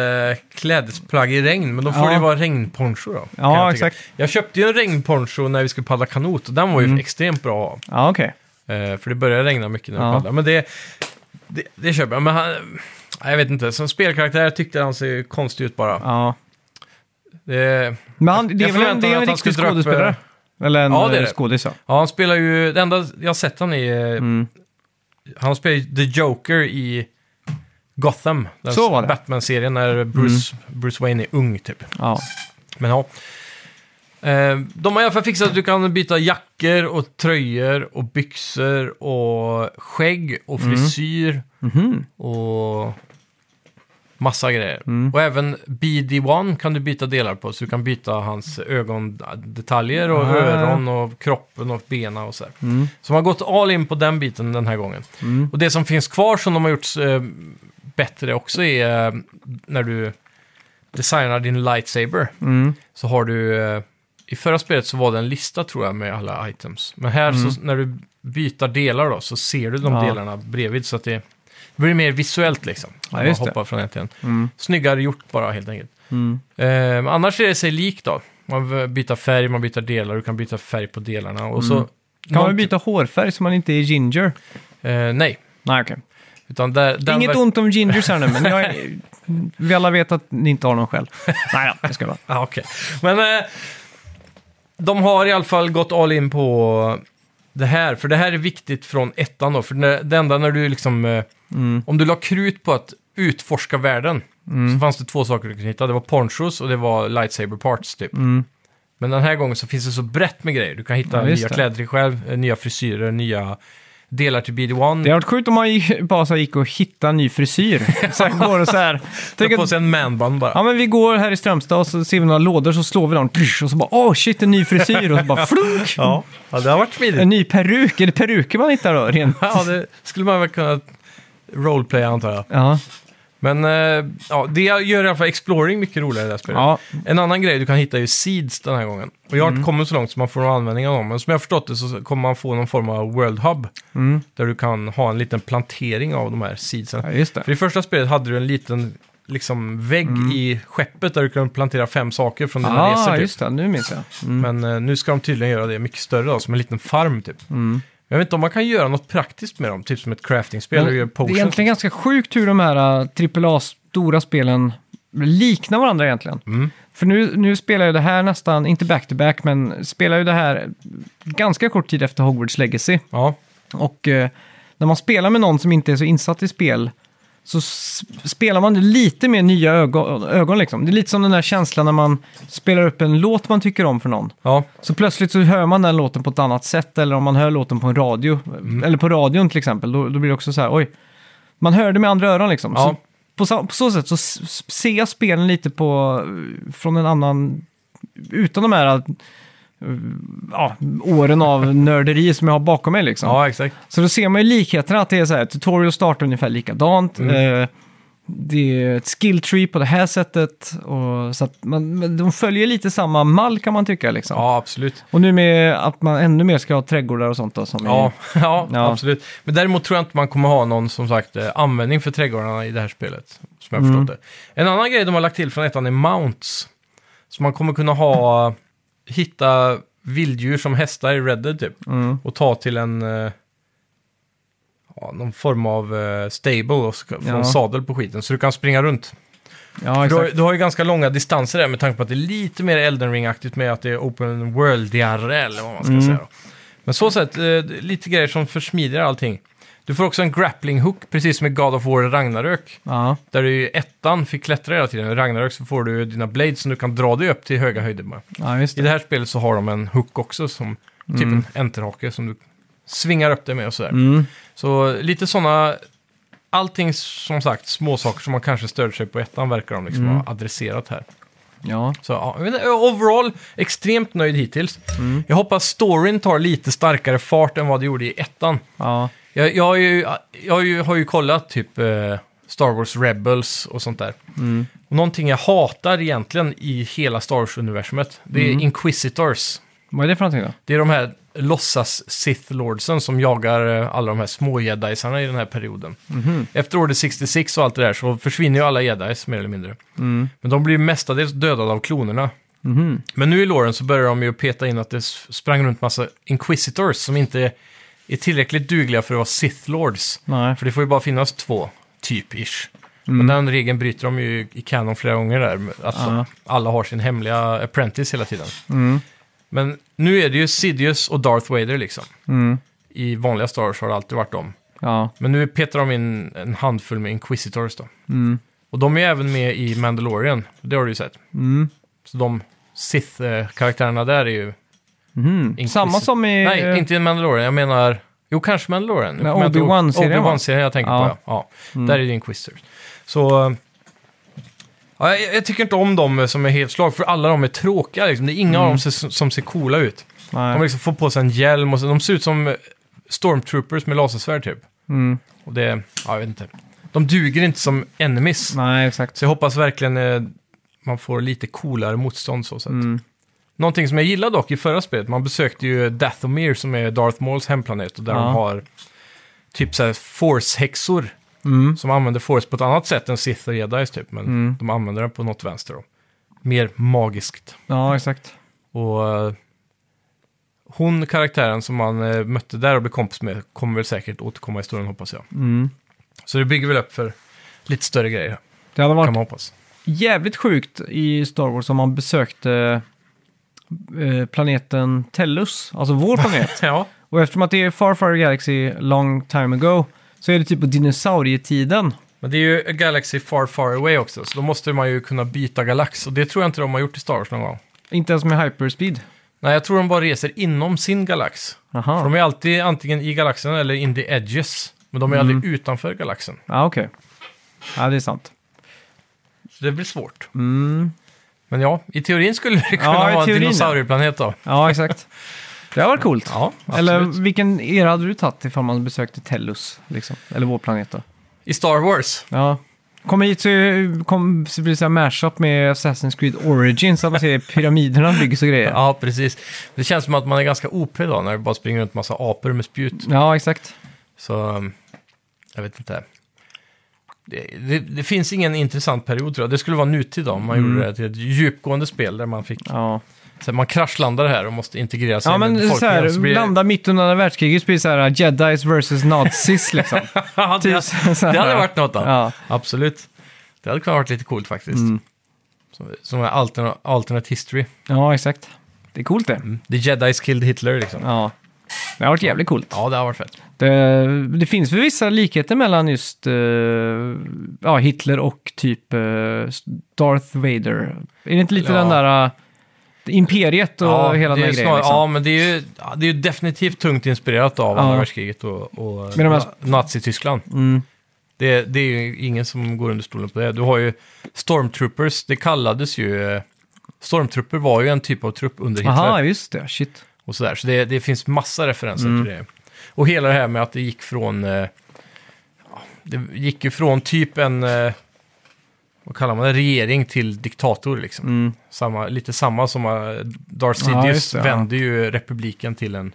S2: klädesplagg i regn, men då får
S1: Ja.
S2: det vara regnponcho då. kan
S1: Ja,
S2: jag tycka.
S1: exakt. Mm.
S2: Jag köpte ju en regnponcho när vi skulle paddla kanot och den var ju extremt bra att ha.
S1: Ja, okej.
S2: Eh, för det börjar regna mycket när man
S1: Ja.
S2: paddlar. Men det, det, det köper jag. Men han, nej, jag vet inte, som spelkaraktär tyckte han ser konstig ut bara.
S1: Ja.
S2: Det,
S1: Men han, det är
S2: Jag
S1: väl en,
S2: förväntade
S1: det är en
S2: mig att han
S1: riktig
S2: skulle dra upp,
S1: skådespelare? Eller en
S2: Ja, det är
S1: eh,
S2: det.
S1: skådis ja.
S2: ja, han spelar ju, det enda jag har sett han i, eh,
S1: Mm.
S2: han spelar ju The Joker i Gotham. Den
S1: Så var det. Mm.
S2: Batman-serien när Bruce, Bruce Wayne är ung typ.
S1: ja.
S2: Men ja. Eh, De har i alla fall fixat att du kan byta jackor och tröjor och byxor och skägg och frisyr och massa grejer. Och även BD1 kan du byta delar på, så du kan byta hans ögondetaljer och
S1: Ah.
S2: öron och kroppen och bena och så här. Så de har gått all in på den biten den här gången.
S1: Mm.
S2: Och det som finns kvar som de har gjort eh, bättre också är eh, när du designar din lightsaber
S1: Mm.
S2: så har du... eh, I förra spelet så var det en lista tror jag med alla items. Men här så när du byter delar då så ser du de
S1: Mm. Ja.
S2: delarna bredvid så att det, det blir mer visuellt liksom.
S1: Ja,
S2: När man
S1: just det.
S2: hoppar från en till en.
S1: Mm.
S2: Snyggare gjort bara helt enkelt.
S1: Mm.
S2: Eh, men annars är det sig likt då. Man v- byter färg, man byter delar, du kan byta färg på delarna och så...
S1: Mm. Kan man
S2: någon-
S1: byta hårfärg så man inte är ginger?
S2: Eh, nej.
S1: Nej, okej.
S2: Utan där, den
S1: Inget
S2: verk-
S1: ont om gingers här nu, men jag är, vi alla vet att ni inte har någon själv. Nej, ja, det ska vara.
S2: Ja, okej. Men eh, de har i alla fall gått all in på det här, för det här är viktigt från ettan då. För det, det enda när du liksom, eh,
S1: Mm.
S2: om du la krut på att utforska världen, så fanns det två saker du kunde hitta. Det var ponchos och det var lightsaber parts typ. Men den här gången så finns det så brett med grejer. Du kan hitta
S1: Mm. Ja, just
S2: nya
S1: det.
S2: kläder till själv, eh, nya frisyrer, nya delar till BD1.
S1: Det har varit sjukt om man gick, bara så här gick och hittade en ny frisyr. Så här går och så här.
S2: Tänk
S1: Tänk
S2: på
S1: att,
S2: sig en manband bara.
S1: ja men vi går här i Strömstad och så ser vi några lådor så slår vi dem. Tsch, Och så bara åh shit, en ny frisyr. Och så bara flunk!
S2: Ja, ja det har varit
S1: En
S2: smidigt.
S1: ny peruk. Är det peruker man hittar då? Rent.
S2: Ja, det skulle man väl kunna roleplaya antar jag.
S1: Ja.
S2: Men eh, ja, det gör i alla fall Exploring mycket roligare i det här spelet.
S1: ja. Mm.
S2: En annan grej du kan hitta är ju Seeds den här gången. Och jag har inte kommit så långt så man får någon användning av dem. Men som jag har förstått det så kommer man få någon form av World Hub.
S1: Mm.
S2: Där du kan ha en liten plantering av de här seedsen.
S1: Ja, just det.
S2: För i första spelet hade du en liten liksom, vägg i skeppet där du kunde plantera fem saker från dina resor.
S1: Mm. Ah,
S2: Typ.
S1: just det. Nu minns jag. Mm.
S2: Men eh, nu ska de tydligen göra det mycket större, då, som en liten farm typ.
S1: Mm.
S2: Jag vet inte om man kan göra något praktiskt med dem, typ som ett crafting-spel.
S1: Men
S2: där du gör
S1: Mm. det är
S2: potions.
S1: egentligen ganska sjukt hur de här äh, AAA-stora spelen liknar varandra egentligen.
S2: Mm.
S1: För nu, nu spelar ju det här nästan, inte back-to-back, men spelar ju det här ganska kort tid efter Hogwarts Legacy.
S2: Ja,
S1: Och eh, när man spelar med någon som inte är så insatt i spel så s- spelar man lite med nya ögon. ögon liksom. Det är lite som den där känslan när man spelar upp en låt man tycker om för någon.
S2: ja,
S1: Så plötsligt så hör man den låten på ett annat sätt eller om man hör låten på en radio,
S2: Mm.
S1: eller på radion till exempel, då, då blir det också så här, oj, man hör det med andra öron liksom.
S2: Ja.
S1: Så på, så, på så sätt så s- s- ser jag spelen lite på, eh, från en annan, utan de här eh, ja, åren av nörderi som jag har bakom mig liksom.
S2: ja, exakt.
S1: Så då ser man ju likheterna att det är så här, tutorial startar ungefär likadant.
S2: Mm.
S1: Eh, det är ett skill tree på det här sättet. Och så att man, men de följer lite samma mall kan man tycka. Liksom.
S2: Ja, absolut.
S1: Och nu med att man ännu mer ska ha trädgårdar och sånt då, som
S2: Ja, ja,
S1: Ja.
S2: absolut. Men däremot tror jag inte man kommer ha någon som sagt eh, användning för trädgårdarna i det här spelet. Som jag
S1: Mm.
S2: har förstått det. En annan grej de har lagt till från ettan är mounts. Så man kommer kunna ha, eh, hitta vilddjur som hästar i Red Dead typ.
S1: Mm.
S2: Och ta till en, eh, ja, någon form av eh, stable och ska- få
S1: Ja.
S2: en sadel på skiten. Så du kan springa runt.
S1: är, ja,
S2: Du har,
S1: exakt.
S2: du har ju ganska långa distanser där med tanke på att det är lite mer Elden Ring-aktigt med att det är open world-digare eller vad man
S1: Mm.
S2: ska säga. Då. Men så sett, eh, lite grejer som försmidigar allting. Du får också en grappling hook, precis som i God of War Ragnarök.
S1: Ja,
S2: Där du i ettan fick klättra hela tiden. I Ragnarök så får du dina blades som du kan dra dig upp till höga höjder med.
S1: ja, just
S2: I
S1: det.
S2: det här spelet så har de en hook också, som typ en enterhake som du svingar upp dig med och sådär.
S1: Mm.
S2: Så lite sådana, allting som sagt småsaker som man kanske störde sig på i ettan verkar de liksom ha adresserat här.
S1: Ja.
S2: Så ja, jag vet inte, overall, extremt nöjd hittills. Jag hoppas storyn tar lite starkare fart än vad det gjorde i ettan.
S1: Ja.
S2: Jag, jag, har, ju, jag har, ju, har ju kollat typ eh, Star Wars Rebels och sånt där. Och någonting jag hatar egentligen i hela Star Wars-universumet, det är Inquisitors.
S1: Vad är det för någonting då?
S2: Det är de här låtsas Sith Lordsen som jagar eh, alla de här små jedisarna i den här perioden. Efter Order 66 och allt det där så försvinner ju alla jedis mer eller mindre.
S1: Mm.
S2: Men de blir ju mestadels dödade av klonerna.
S1: Mhm.
S2: Men nu i låren så börjar de ju peta in att det s- sprang runt massa Inquisitors som inte är tillräckligt dugliga för att vara Sith Lords.
S1: Nej. Mm.
S2: För det får ju bara finnas två, typ-ish. Men den regeln bryter de ju i kanon flera gånger där. Att
S1: Ja. Mm.
S2: alla har sin hemliga apprentice hela tiden. Men nu är det ju Sidious och Darth Vader liksom.
S1: Mm.
S2: I vanliga Star Wars har det alltid varit dem.
S1: Ja.
S2: Men nu petar de in en handfull med Inquisitors då.
S1: Mm.
S2: Och de är ju även med i Mandalorian, det har du ju sett.
S1: Mm.
S2: Så de Sith-karaktärerna där är ju...
S1: Mhm.
S2: Inquisi-
S1: Samma som i...
S2: Nej, inte i Mandalorian, jag menar... Jo, kanske Mandalorian.
S1: Nej,
S2: Jag kommer inte ihåg.
S1: Obi-Wan-serien, va?
S2: Obi-Wan-serien jag tänker
S1: Ja. Mm.
S2: på, ja. ja. Där är det Inquisitors. Så... eh, Ja, jag, jag tycker inte om dem som är helt slag, för alla de är tråkiga. Liksom. Det är inga av dem som, som ser coola ut. De
S1: Mm. Nej.
S2: liksom får på sig en hjälm och så, de ser ut som eh, stormtroopers med lasersvärd typ.
S1: Mm.
S2: Och det, ja, jag vet inte. De duger inte som enemies.
S1: Nej, exakt.
S2: Så jag hoppas verkligen eh, man får lite coolare motstånd så sett.
S1: Mm.
S2: Någonting som jag gillade dock i förra spelet, man besökte ju Dathomir som är Darth Mauls hemplanet och där
S1: Ja.
S2: de har typ så här force-häxor
S1: Mm.
S2: som använder force på ett annat sätt än Sith och Jedis typ, men
S1: Mm.
S2: de använder den på något vänster då. Mer magiskt.
S1: Ja, exakt.
S2: Och eh, hon, karaktären som man eh, mötte där och blev kompis med, kommer väl säkert återkomma i historien hoppas jag.
S1: Mm.
S2: Så det bygger väl upp för lite större grejer,
S1: Det hade varit
S2: kan man hoppas.
S1: jävligt sjukt i Star Wars om man besökte eh, planeten Tellus, alltså vår planet.
S2: Ja,
S1: och eftersom att det är Far Far Galaxy long time ago så är det typ på dinosaurietiden.
S2: men det är ju A Galaxy Far Far Away också, så då måste man ju kunna byta galax. Och det tror jag inte de har gjort i Star Wars någon gång.
S1: Inte ens med hyperspeed.
S2: Nej, jag tror de bara reser inom sin galax.
S1: Aha.
S2: För de är alltid antingen i galaxen eller in the edges. Men de är
S1: Mm.
S2: aldrig utanför galaxen.
S1: Ja, okej. Ja, det är sant.
S2: Så det blir svårt. Men ja, i teorin skulle det kunna
S1: Mm. Ja, i
S2: vara en
S1: teorin, ja.
S2: dinosaurieplanet då.
S1: Ja, exakt. Det har varit coolt.
S2: Ja, absolut.
S1: Eller vilken era hade du tagit ifall man besökte Tellus? Liksom? Eller vår planet då?
S2: I Star Wars.
S1: Ja. Kommer hit så, kom, så blir det så här mashup med Assassin's Creed Origins. Att man ser pyramiderna byggs och grejer. Ja,
S2: Ja, precis. Det känns som att man är ganska OP då när det bara springer runt massa apor med spjut.
S1: exakt.
S2: Så, um, jag vet inte. Det, det, det finns ingen intressant period tror jag. Det skulle vara nutid då, om man
S1: Mm.
S2: gjorde det till ett djupgående spel där man fick...
S1: Ja,
S2: Så man kraschlandar här och måste integrera sig
S1: ja men så här,
S2: så blir det-
S1: landa mitt under andra världskriget så blir det så här uh, Jedis versus Nazis liksom.
S2: Ja, det,
S1: Typ så här.
S2: det hade varit något då.
S1: Ja. Mm.
S2: Absolut. Det hade kunnat varit lite coolt faktiskt. Som, som är altern alternate history.
S1: Ja, exakt. Det är coolt det.
S2: The Jedis killed Hitler liksom.
S1: Ja.
S2: Ja,
S1: Det har varit jävligt coolt.
S2: det hade varit fett.
S1: Det, det finns väl vissa likheter mellan just eh, ja, Hitler och typ eh, Darth Vader. Är det inte lite
S2: Ja.
S1: den där eh, imperiet och
S2: ja,
S1: hela
S2: det
S1: den här
S2: är
S1: grejen?
S2: snar-
S1: liksom?
S2: Ja, men det är ju, ja, det är ju definitivt tungt inspirerat av
S1: Ja.
S2: andra världskriget och, och
S1: Men de här-
S2: na- Nazityskland.
S1: Mm.
S2: Det, det är ju ingen som går under stolen på det. Du har ju Stormtroopers, det kallades ju... eh, Stormtrooper var ju en typ av trupp under Hitler.
S1: Aha, just det. Shit.
S2: och sådär. Så det, det finns massa referenser
S1: Mm.
S2: till det. Och hela det här med att det gick från... Eh, ja, det gick ju från typ en... Eh, vad kallar man det? Regering till diktator liksom. Samma, lite samma som eh, Darth
S1: Mm. Ja,
S2: Sidious
S1: just det, ja.
S2: vände ju republiken till en...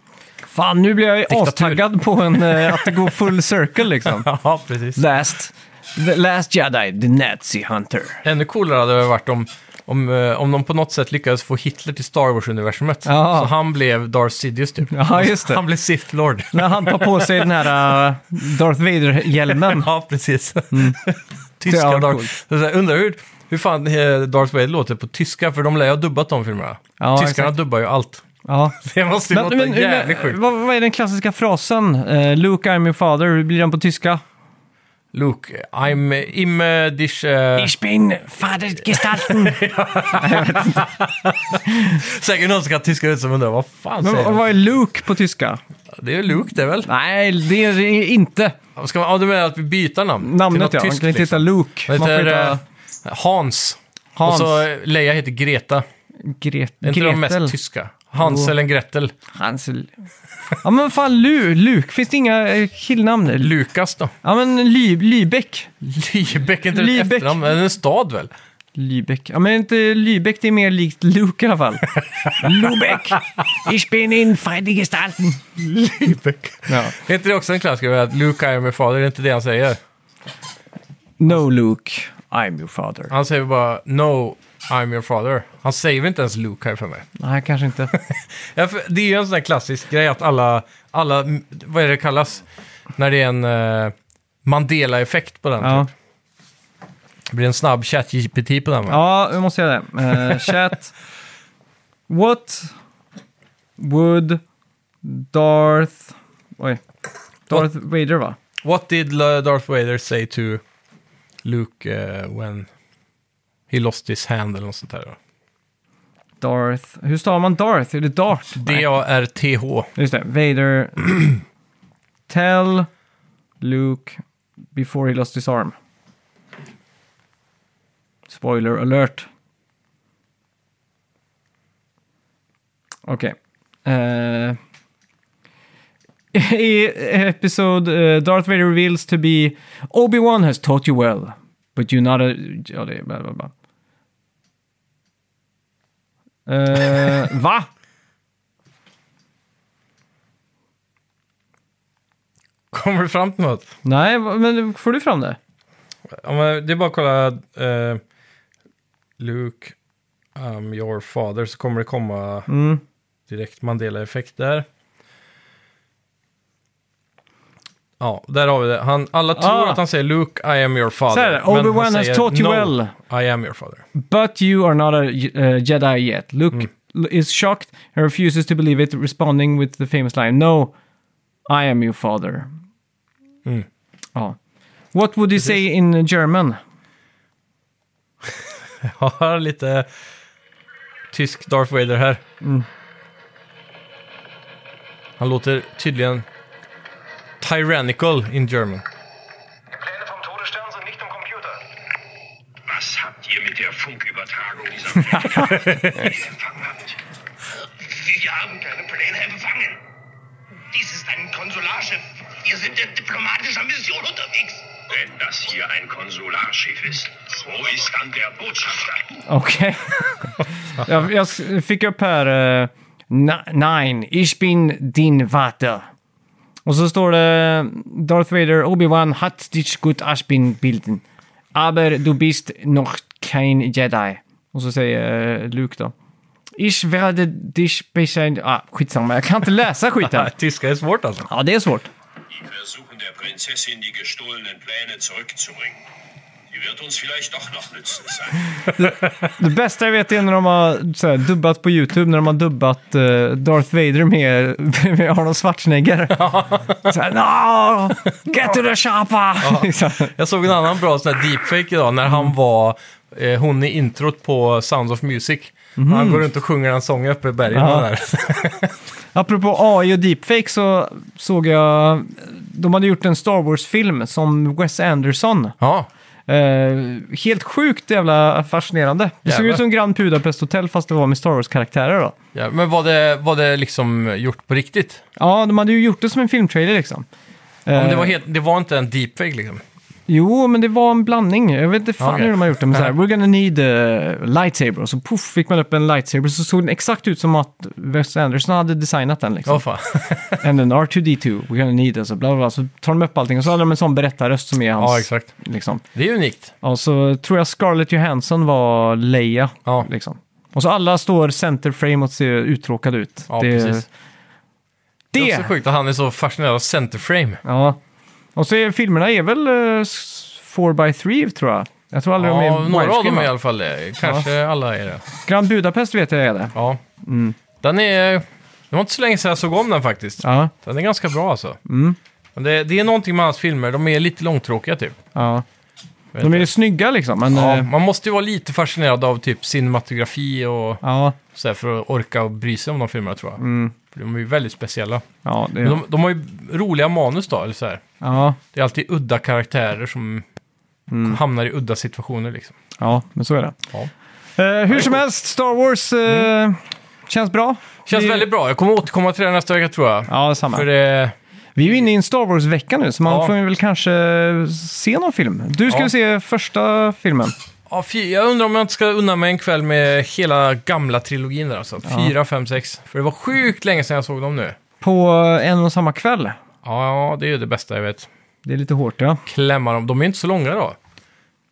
S1: Fan, nu blir jag ju
S2: Diktatur.
S1: astaggad på en, eh, att det går full circle liksom.
S2: ja, precis.
S1: last, the last Jedi, the Nazi Hunter.
S2: Ännu coolare hade det varit om, om, eh, om de på något sätt lyckades få Hitler till Star Wars-universumet.
S1: Ja.
S2: Så han blev Darth Sidious typ.
S1: Ja, just det.
S2: Han blev Sith Lord.
S1: När han tar på sig den här eh, Darth Vader-hjälmen.
S2: Ja, precis.
S1: Mm. Det
S2: tyska
S1: är
S2: Darth...
S1: coolt.
S2: Så här, undrar hur, hur fan eh, Darth Vader låter på tyska, för de lär ju ha dubbat de filmerna.
S1: Ja,
S2: Tyskarna
S1: exakt.
S2: dubbar ju allt.
S1: Ja.
S2: Det måste ju
S1: Men,
S2: låta
S1: men,
S2: jävligt
S1: men,
S2: sjukt.
S1: vad, vad är den klassiska frasen? Eh, Luke, I'm your father. Hur blir den på tyska?
S2: Luke, I'm im eh, dich... eh,
S1: Ich bin Fadergestalten.
S2: Säkert någon som kan tyska ut som undrar vad fan
S1: Men
S2: säger
S1: vad
S2: de?
S1: vad är Luke på tyska?
S2: Det är ju Luke det väl?
S1: Nej, det är det inte.
S2: Ska man, ja, du menar att vi byter namn?
S1: Namnet
S2: till
S1: ja,
S2: något
S1: man
S2: tyskt
S1: kan inte heta
S2: liksom.
S1: Luke.
S2: Vad
S1: Man får
S2: heter,
S1: heta
S2: eh, Hans.
S1: Hans.
S2: Och så eh, Leia heter Greta.
S1: Gret-
S2: Är inte de
S1: Gretel.
S2: mest tyska? Hansel eller Gretel.
S1: Hansel. Ja men vad fan, Lu, Luke. Finns det inga eh, killnamn? Lu.
S2: Lukas då?
S1: Ja men Ly, Lybeck.
S2: Lübeck är inte ett
S1: Lübeck.
S2: efternamn, det är en stad väl?
S1: Lybeck. Ja men inte Lybeck, det är mer likt Luke i alla fall. Lubeck. Ich bin in Fadergestalten.
S2: Lübeck.
S1: Ja.
S2: Är inte det också en klassiker? Att Luke är min fader, det är inte det han säger.
S1: No Luke, I'm your father.
S2: Han säger bara No, I'm your father. Han säger väl inte ens Luke här för mig.
S1: Nej, kanske inte.
S2: Ja, för det är ju en sån där klassisk grej att alla, alla vad är det kallas? När det är en eh, Mandela-effekt på den.
S1: Ja.
S2: Typ. Det blir en snabb chat-GPT på den. va?
S1: Ja, vi måste göra det. Eh, chat. What would Darth... Oj. Darth Vader, va?
S2: What did La- Darth Vader say to Luke eh, when he lost his hand eller något sånt där? då?
S1: Darth... Hur stavar man Darth? Är det Dart? Nej.
S2: D-A-R-T-H.
S1: Just det. Vader... Tell Luke before he lost his arm. Spoiler alert. Okej. Eh, I episode eh, Darth Vader reveals to be Obi-Wan has taught you well, but you're not a... Ja, det är bla, bla, bla. Eh, va?
S2: Kommer du fram till något?
S1: Nej, va- men får du fram det?
S2: Ja, men det är bara att kolla eh, Luke, I'm your father, så kommer det komma
S1: Mm.
S2: direkt Mandela-effekt där. Ja, där har vi det. Han, alla tror
S1: Ah.
S2: att han säger Luke, I am your
S1: Så
S2: father.
S1: här,
S2: men han
S1: Obi-Wan has
S2: säger,
S1: taught you
S2: "No,
S1: well,
S2: I am your father.
S1: but you are not a uh, Jedi yet. Luke is shocked and refuses to believe it, responding with the famous line, No, I am your father.
S2: Mm.
S1: Ja. What would you say in German? Mm.
S2: Jag har lite tysk Darth Vader här. Han låter tydligen tyrannical in German.
S5: Pläne vom Todesstern sind nicht im Computer. Was habt ihr mit der Funkübertragung dieser Pläne nicht empfangen habt?
S6: Wir haben keine Pläne empfangen. Dies ist ein Konsularschiff. Wir sind in diplomatischer Mission unterwegs.
S5: Wenn das hier ein Konsularschiff ist, wo ist dann der Botschafter?
S1: Okej. jag, jag fick upp här... eh, "Na- Nein, ich bin din Vater. Och så står det Darth Vader, Obi-Wan hat dich gut ich bin bilden. Aber du bist noch kein jedi. Och så säger eh, Luke då. Ich werde dich beschein... Ah, skitsamma, jag kan inte läsa skit här.
S2: Tyska är svårt alltså.
S1: Ja, det är svårt.
S5: Die versuchen der Prinzessin die gestohlenen Pläne zurückzubringen. Sie wird uns vielleicht doch noch nützlich sein.
S1: Det bästa jag vet är när de har så här, dubbat på YouTube, när de har dubbat eh, Darth Vader med, med Arnold Schwarzenegger. så här, no! Get to the ah!" shoppa!
S2: Jag såg en annan bra sån här deepfake idag när
S1: Mm.
S2: han var eh, hon i introt på Sounds of Music. Han går runt och sjunger en sång uppe i bergen
S1: Mhm. Ja.
S2: där.
S1: Apropå AI och deepfake så såg jag, de hade gjort en Star Wars-film som Wes Anderson.
S2: Ja,
S1: Eh, helt sjukt jävla fascinerande. Det såg
S2: Jävlar.
S1: ut som Grand Budapest Hotel fast det var med Star Wars-karaktärer då.
S2: ja. Men var det, var det liksom gjort på riktigt?
S1: Ja, de hade ju gjort det som en filmtrailer liksom.
S2: Om det,
S1: Eh,
S2: var helt, det var inte en deepfake liksom?
S1: Jo, men det var en blandning. Jag vet inte fan
S2: Okej.
S1: hur de har gjort det. Men så här, we're gonna need a lightsaber. Och så puff fick man upp en lightsaber. Så såg den exakt ut som att Wes Anderson hade designat den.
S2: Ja,
S1: Liksom.
S2: fan.
S1: And then R2D2, we're gonna need us. och Bla, bla, bla. Så tar de upp allting och så hade de en sån berättarröst som är hans.
S2: ja, exakt.
S1: Liksom.
S2: Det är unikt.
S1: Och så tror jag Scarlett Johansson var Leia.
S2: Ja.
S1: Liksom. Och så alla står center frame och ser uttråkade ut.
S2: Ja,
S1: det,
S2: precis. Det är
S1: det.
S2: också sjukt att han är så fascinerad av centerframe.
S1: Ja. Och så är filmerna är väl eh, 4x3 tror jag. Jag tror aldrig de
S2: Ja,
S1: är
S2: några av
S1: widescreen,
S2: dem
S1: va?
S2: i alla fall. är- Kanske alla är det.
S1: Grand Budapest vet jag är det.
S2: Ja.
S1: Mm.
S2: Den är... Det var inte så länge sedan jag såg om den faktiskt.
S1: Ja,
S2: Den är ganska bra alltså.
S1: Mm.
S2: Men det, det är någonting med hans filmer, de är lite långtråkiga typ.
S1: ja.
S2: Vet
S1: De är
S2: jag.
S1: ju snygga liksom, men...
S2: ja,
S1: Ja.
S2: man måste ju vara lite fascinerad av typ cinematografi och
S1: Ja, Mm.
S2: sådär för att orka och bry sig om de filmerna tror jag. För de är ju väldigt speciella.
S1: ja, det,
S2: Men de, de har ju roliga manus då, eller så här.
S1: ja,
S2: Det är alltid udda karaktärer som hamnar i udda situationer liksom.
S1: ja, men så är Mm. det.
S2: Ja.
S1: Eh, hur som helst, Star Wars eh, känns bra.
S2: Mm. Känns
S1: Vi-
S2: väldigt bra. Jag kommer återkomma till det nästa vecka tror jag.
S1: Ja, samma.
S2: För det...
S1: Vi är ju inne i en Star Wars-vecka nu, så man
S2: Ja.
S1: får ju väl kanske se någon film. Du ska
S2: Ja.
S1: ju se första filmen.
S2: Ja, fy, jag undrar om jag inte ska unna mig en kväll med hela gamla trilogin där alltså. Fyra, fem, sex. För det var sjukt länge sedan jag såg dem nu.
S1: På en och samma kväll.
S2: Ja, det är ju det bästa jag vet.
S1: Det är lite hårt, ja.
S2: Klämma dem. De är ju inte så långa då.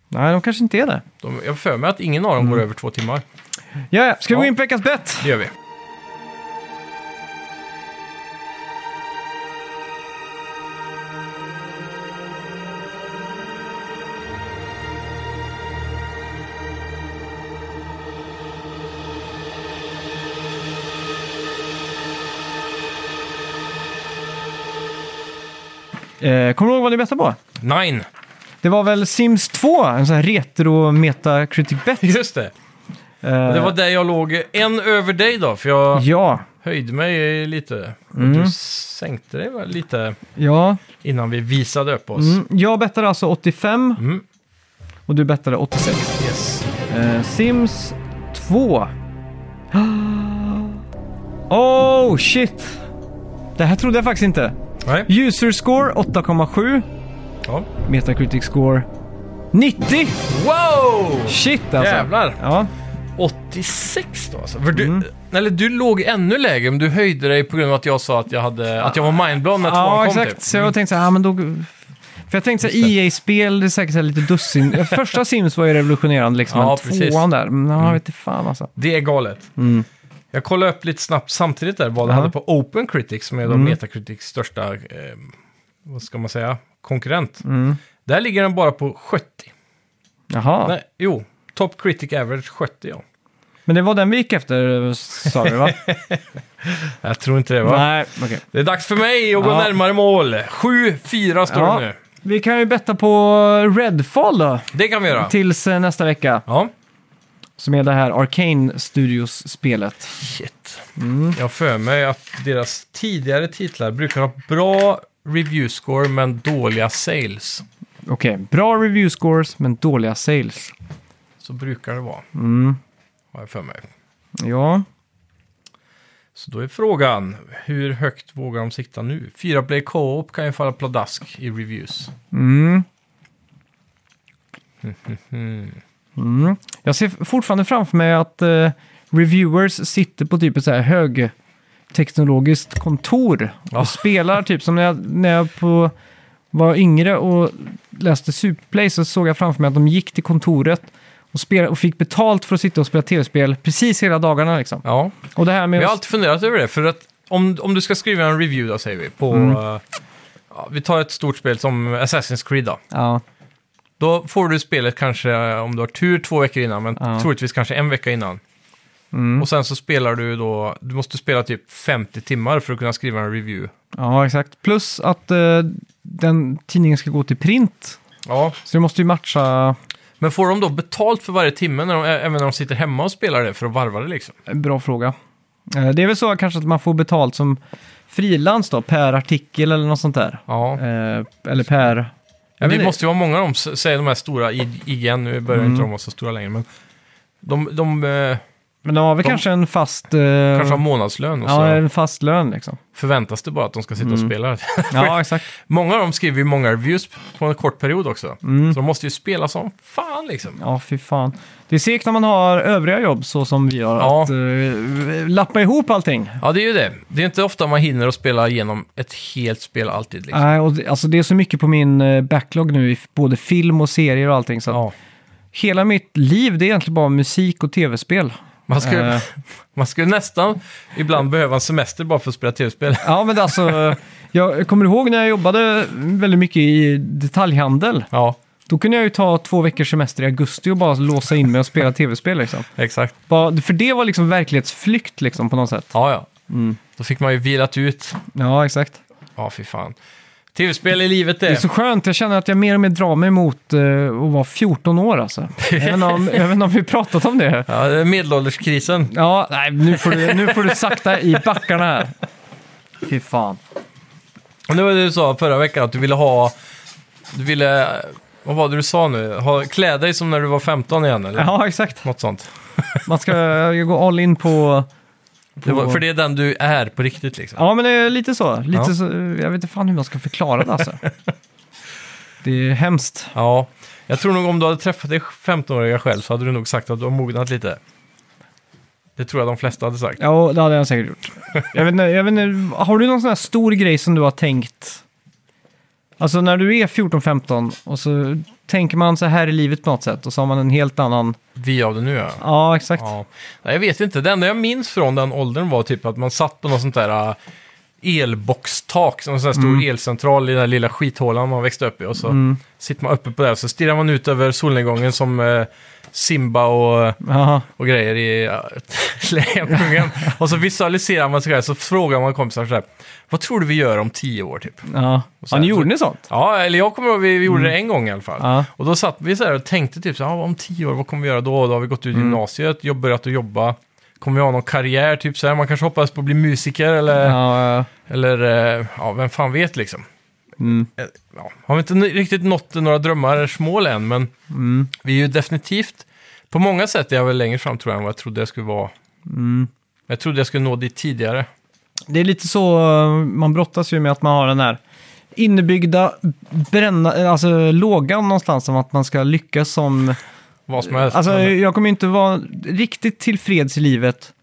S1: Nej, de kanske inte är det.
S2: De, jag har för mig att ingen av dem
S1: Mm.
S2: går över två timmar.
S1: Ja, ja. ska vi
S2: Ja.
S1: gå in på veckans bett?
S2: Det gör vi.
S1: Eh, kommer du ihåg vad ni bettade på?
S2: Nine!
S1: Det var väl Sims 2, en sån här retro-metacritic-bett.
S2: Just det. Det var där jag låg en över dig då, för jag
S1: Eh. Ja, Mm.
S2: höjde mig lite. Och Du sänkte dig väl lite
S1: ja.
S2: innan vi visade upp oss.
S1: Mm, jag bettade alltså 85
S2: Mm.
S1: och du bettade 86.
S2: Yes.
S1: Eh, Sims 2. Oh shit! Det här trodde jag faktiskt inte.
S2: Nej.
S1: User score 8,7.
S2: Ja.
S1: Metacritic score 90!
S2: Wow!
S1: Shit alltså.
S2: Jävlar.
S1: Ja,
S2: 86 då alltså. För du,
S1: Mm.
S2: Eller du låg ännu lägre, men du höjde dig på grund av att jag sa att jag, hade, att jag var mindblown när tvåan
S1: ja
S2: kom.
S1: exakt.
S2: Typ.
S1: Så jag tänkte så här, ah, men då... För jag tänkte så här, EA-spel, det är säkert så här lite dussin. Första Sims var ju revolutionerande liksom,
S2: Ja,
S1: men
S2: precis.
S1: tvåan där, mm, jag vet inte fan alltså.
S2: Det är galet. Jag kollade upp lite snabbt samtidigt där vad
S1: Mm. Ja.
S2: det
S1: Mm.
S2: hade på Open Critics, som är då Metacritics största, eh, vad ska man säga, konkurrent.
S1: Mm.
S2: Där ligger den bara på 70.
S1: Jaha.
S2: Nej, jo, Top Critic Average 70 ja.
S1: Men det var den vi gick efter, sa vi va?
S2: Jag tror inte det va?
S1: Nej, okej.
S2: Det är dags för mig att gå
S1: Ja.
S2: närmare mål. 7-4 står
S1: Ja.
S2: det nu.
S1: Vi kan ju betta på Redfall då,
S2: Det kan vi göra.
S1: tills eh, nästa vecka.
S2: Ja,
S1: Som är det här Arcane Studios-spelet.
S2: Shit.
S1: Mm.
S2: Jag har för mig att deras tidigare titlar brukar ha bra review score men dåliga sales.
S1: Okej, bra review scores men dåliga sales.
S2: Så brukar det vara.
S1: Mm.
S2: Har jag för mig.
S1: Ja,
S2: Så då är frågan, hur högt vågar de sikta nu? Fyra play co-op kan ju falla pladask i reviews.
S1: jag ser fortfarande framför mig att eh, reviewers sitter på typ ett så här högteknologiskt kontor
S2: Ja.
S1: och spelar typ som när jag, när jag på, var yngre och läste Superplay så såg jag framför mig att de gick till kontoret och, spelade, och fick betalt för att sitta och spela tv-spel precis hela dagarna liksom.
S2: Ja,
S1: Och det här med
S2: jag har
S1: att-
S2: alltid funderat över det. För att om, om du ska skriva en review då, säger vi, på... eh, ja, vi tar ett stort spel som Assassin's Creed då.
S1: Ja,
S2: Då får du spelet kanske, eh, om du har tur, två veckor innan, men
S1: Ja.
S2: troligtvis kanske en vecka innan. Och sen så spelar du då, du måste spela typ 50 timmar för att kunna skriva en review.
S1: ja, exakt. Plus att eh, den tidningen ska gå till print.
S2: Ja,
S1: Så det måste ju matcha
S2: men får de då betalt för varje timme, när de, ä- även när de sitter hemma och spelar det, för att varva det liksom?
S1: Bra fråga. Eh, Det är väl så kanske att man får betalt som frilans då, per artikel eller något sånt där.
S2: Ja.
S1: Eh, Eller per... Jag
S2: Men
S1: vet
S2: det
S1: inte.
S2: måste ju vara många av dem, s- säger de här stora I- igen, nu börjar
S1: Mm.
S2: inte de vara så stora längre, men de, de eh,
S1: Men de har väl
S2: de-
S1: kanske en fast... eh,
S2: kanske har månadslön och så
S1: ja, Mm. en fast lön liksom.
S2: förväntas det bara att de ska sitta och spela.
S1: Ja, exakt.
S2: många av dem skriver ju många reviews på en kort period också,
S1: Mm.
S2: så de måste ju spela som fan liksom.
S1: Ja, fy fan. Det är segt när man har övriga jobb så som vi har.
S2: Ja.
S1: Att eh, lappa ihop allting.
S2: Ja, det är ju det. Det är inte ofta man hinner att spela igenom ett helt spel alltid. Liksom.
S1: Nej, och det, alltså det är så mycket på min eh, backlog nu i f- både film och serier och allting. Så att
S2: Ja.
S1: hela mitt liv det är egentligen bara musik och tv-spel.
S2: Man, skulle,
S1: Eh.
S2: man skulle nästan ibland behöva en semester bara för att spela tv-spel.
S1: Ja, men alltså, jag kommer ihåg när jag jobbade väldigt mycket i detaljhandel.
S2: Ja,
S1: Då kunde jag ju ta två veckors semester i augusti och bara låsa in mig och spela tv-spel. Liksom.
S2: exakt.
S1: Bara- För det var liksom verklighetsflykt liksom, på något sätt.
S2: Ja, ja.
S1: Mm.
S2: Då fick man ju vilat ut.
S1: Ja, exakt.
S2: Ja, fy fan. Tv-spel i livet det.
S1: Det är så skönt, jag känner att jag mer och mer drar mig mot eh, att vara 14 år alltså. Även om, även om vi pratat om det.
S2: Ja, det är medelålderskrisen.
S1: Ja, nej, nu får du, nu får du sakta i backarna här. Fy fan.
S2: Och det var det du sa förra veckan, att du ville ha... Du ville... Vad var det du sa nu? Ha, klä dig som när du var 15 igen, eller?
S1: Ja, exakt.
S2: Något sånt.
S1: Man ska eh, gå all in på...
S2: Det var, för det är den du är på riktigt, liksom.
S1: Ja, men det är lite så. Lite
S2: Ja.
S1: så jag vet inte fan hur man ska förklara det alltså. det är hemskt.
S2: Ja. Jag tror nog om du hade träffat dig 15-åriga själv så hade du nog sagt att du har mognat lite. Det tror jag de flesta hade sagt.
S1: Ja, och det hade jag säkert gjort. Jag vet, inte, jag vet inte, har du någon sån här stor grej som du har tänkt? Alltså när du är 14-15 och så tänker man så här i livet på något sätt och så har man en helt annan...
S2: Vi av det nu, ja.
S1: Ja, exakt.
S2: Ja. Nej, jag vet inte. Det enda jag minns från den åldern var typ att man satt på något sånt där äh, elboxtak, som en sån här stor elcentral i den där lilla skithålan man växte upp i. Och så sitter man uppe på det och så stirrar man ut över solnedgången som eh, Simba och,
S1: Ja.
S2: och grejer i äh, Lejonkungen. och så visualiserar man sig själv, så frågar man kompisar så här, vad tror du vi gör om tio år typ?
S1: Ja,
S2: så
S1: ja
S2: här-
S1: ni gjorde ni sånt?
S2: Ja, eller jag kommer ihåg, vi, vi gjorde det en gång i alla fall.
S1: Mm. Ja.
S2: Och då satt vi så här och tänkte typ så här, ah, om tio år, vad kommer vi göra då? Då har vi gått ut
S1: Mm.
S2: gymnasiet, jobb, börjat att jobba. Kommer vi ha någon karriär, typ så här? Man kanske hoppas på att bli musiker eller,
S1: Ja, ja.
S2: eller eh, ja, vem fan vet liksom.
S1: Mm.
S2: Eh, Ja, har vi inte n- riktigt nått några drömmars mål än, men
S1: Mm.
S2: vi är ju definitivt, på många sätt är jag väl längre fram tror jag än vad jag trodde jag skulle vara.
S1: Mm.
S2: Jag trodde jag skulle nå dit tidigare.
S1: Det är lite så, eh, man brottas ju med att man har den här innebyggda bränna, eh, alltså, lågan någonstans om att man ska lyckas som...
S2: Vad som helst.
S1: Alltså,
S2: men,
S1: jag kommer ju inte vara riktigt tillfreds i livet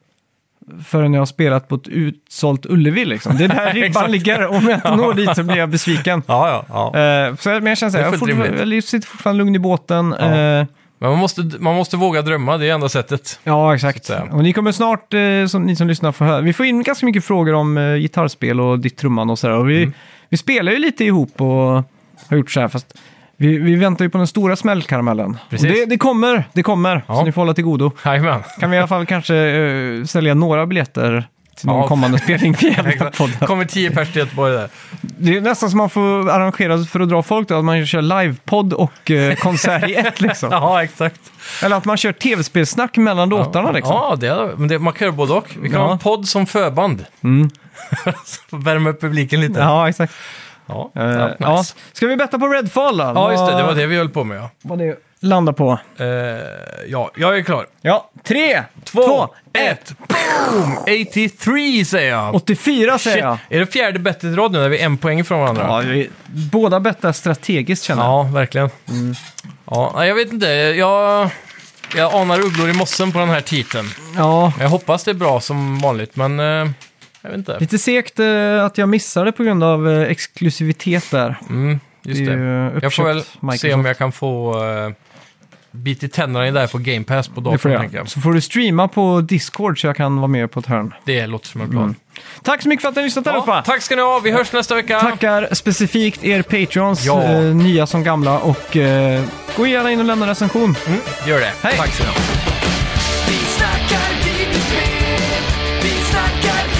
S1: förrän jag har spelat på ett utsålt Ullevi. Liksom. Det är där ribban ligger. Om jag inte når dit så blir jag besviken.
S2: ja, ja, ja.
S1: Eh, så, jag- men jag känner så här,
S2: Det är
S1: jag,
S2: fullt
S1: fortfar- jag sitter fortfarande lugn i båten. eh, Ja,
S2: Men man måste, man måste våga drömma, det är enda sättet.
S1: ja exakt.
S2: Så att säga.
S1: Och ni kommer snart, eh, som, ni som lyssnar, få höra. Vi får in ganska mycket frågor om eh, gitarrspel och ditt trumman och sådär.
S2: Mm.
S1: Vi, vi spelar ju lite ihop och har gjort så här, fast vi, vi väntar ju på den stora smällkaramellen. Och
S2: Precis.
S1: det, det kommer, det kommer.
S2: Ja.
S1: Så ni får hålla till godo.
S2: Jajamän.
S1: Kan vi i alla fall kanske eh, sälja några biljetter till någon
S2: Ja.
S1: kommande spelning vi jävla
S2: Exakt.
S1: podden.
S2: Kommer tio pers till Göteborg där.
S1: Det är nästan som man får arrangera sig för att dra folk då, att man kör livepodd och eh, konsert i ett liksom.
S2: Ja, exakt.
S1: Eller att man kör tv-spelsnack mellan låtarna liksom.
S2: Ja, det, är- men det, man kan göra både och. Vi kan
S1: Ja. Mm.
S2: ha en podd som förband. Så Värma upp publiken lite.
S1: Ja, exakt.
S2: Ja,
S1: Eh,
S2: ja, nice.
S1: ja. Ska vi betta på Redfall då?
S2: ja, just det. Det var det vi höll på med, ja.
S1: Vad det landar på.
S2: Eh, ja, jag är klar.
S1: Ja, tre, två,
S2: Två,
S1: ett.
S2: ett, boom! 83 säger jag.
S1: 84 säger
S2: Shit.
S1: jag.
S2: Är det fjärde bettet i rad nu när vi är en poäng från varandra?
S1: Ja, vi, båda bettar strategiskt känner jag.
S2: Ja, verkligen.
S1: Mm.
S2: Ja, nej, jag vet inte. Jag, jag anar ugglor i mossen på den här titeln.
S1: Ja.
S2: Jag hoppas det är bra som vanligt, men eh, jag vet inte.
S1: Lite segt eh, att jag missade på grund av eh, exklusivitet där.
S2: Mm,
S1: Det
S2: just
S1: är
S2: det.
S1: ju
S2: Jag får väl
S1: uppköpt Microsoft.
S2: se om jag kan få uh, bit i tänderna i det här på Game Pass på
S1: Det får
S2: datorn.
S1: jag.
S2: tänker jag.
S1: Så får du streama på Discord så jag kan vara med på ett hörn.
S2: Det låter som en plan.
S1: Tack så mycket för att ni har lyssnat Mm. allihopa!
S2: Ja, tack ska ni ha, vi hörs nästa vecka.
S1: Tackar specifikt er Patreons,
S2: Ja.
S1: eh, nya som gamla. Och eh, gå gärna in och lämna en recension.
S2: Gör det.
S1: Hej.
S2: Tack ska ni ha.
S4: Vi snackar videospel, vi snackar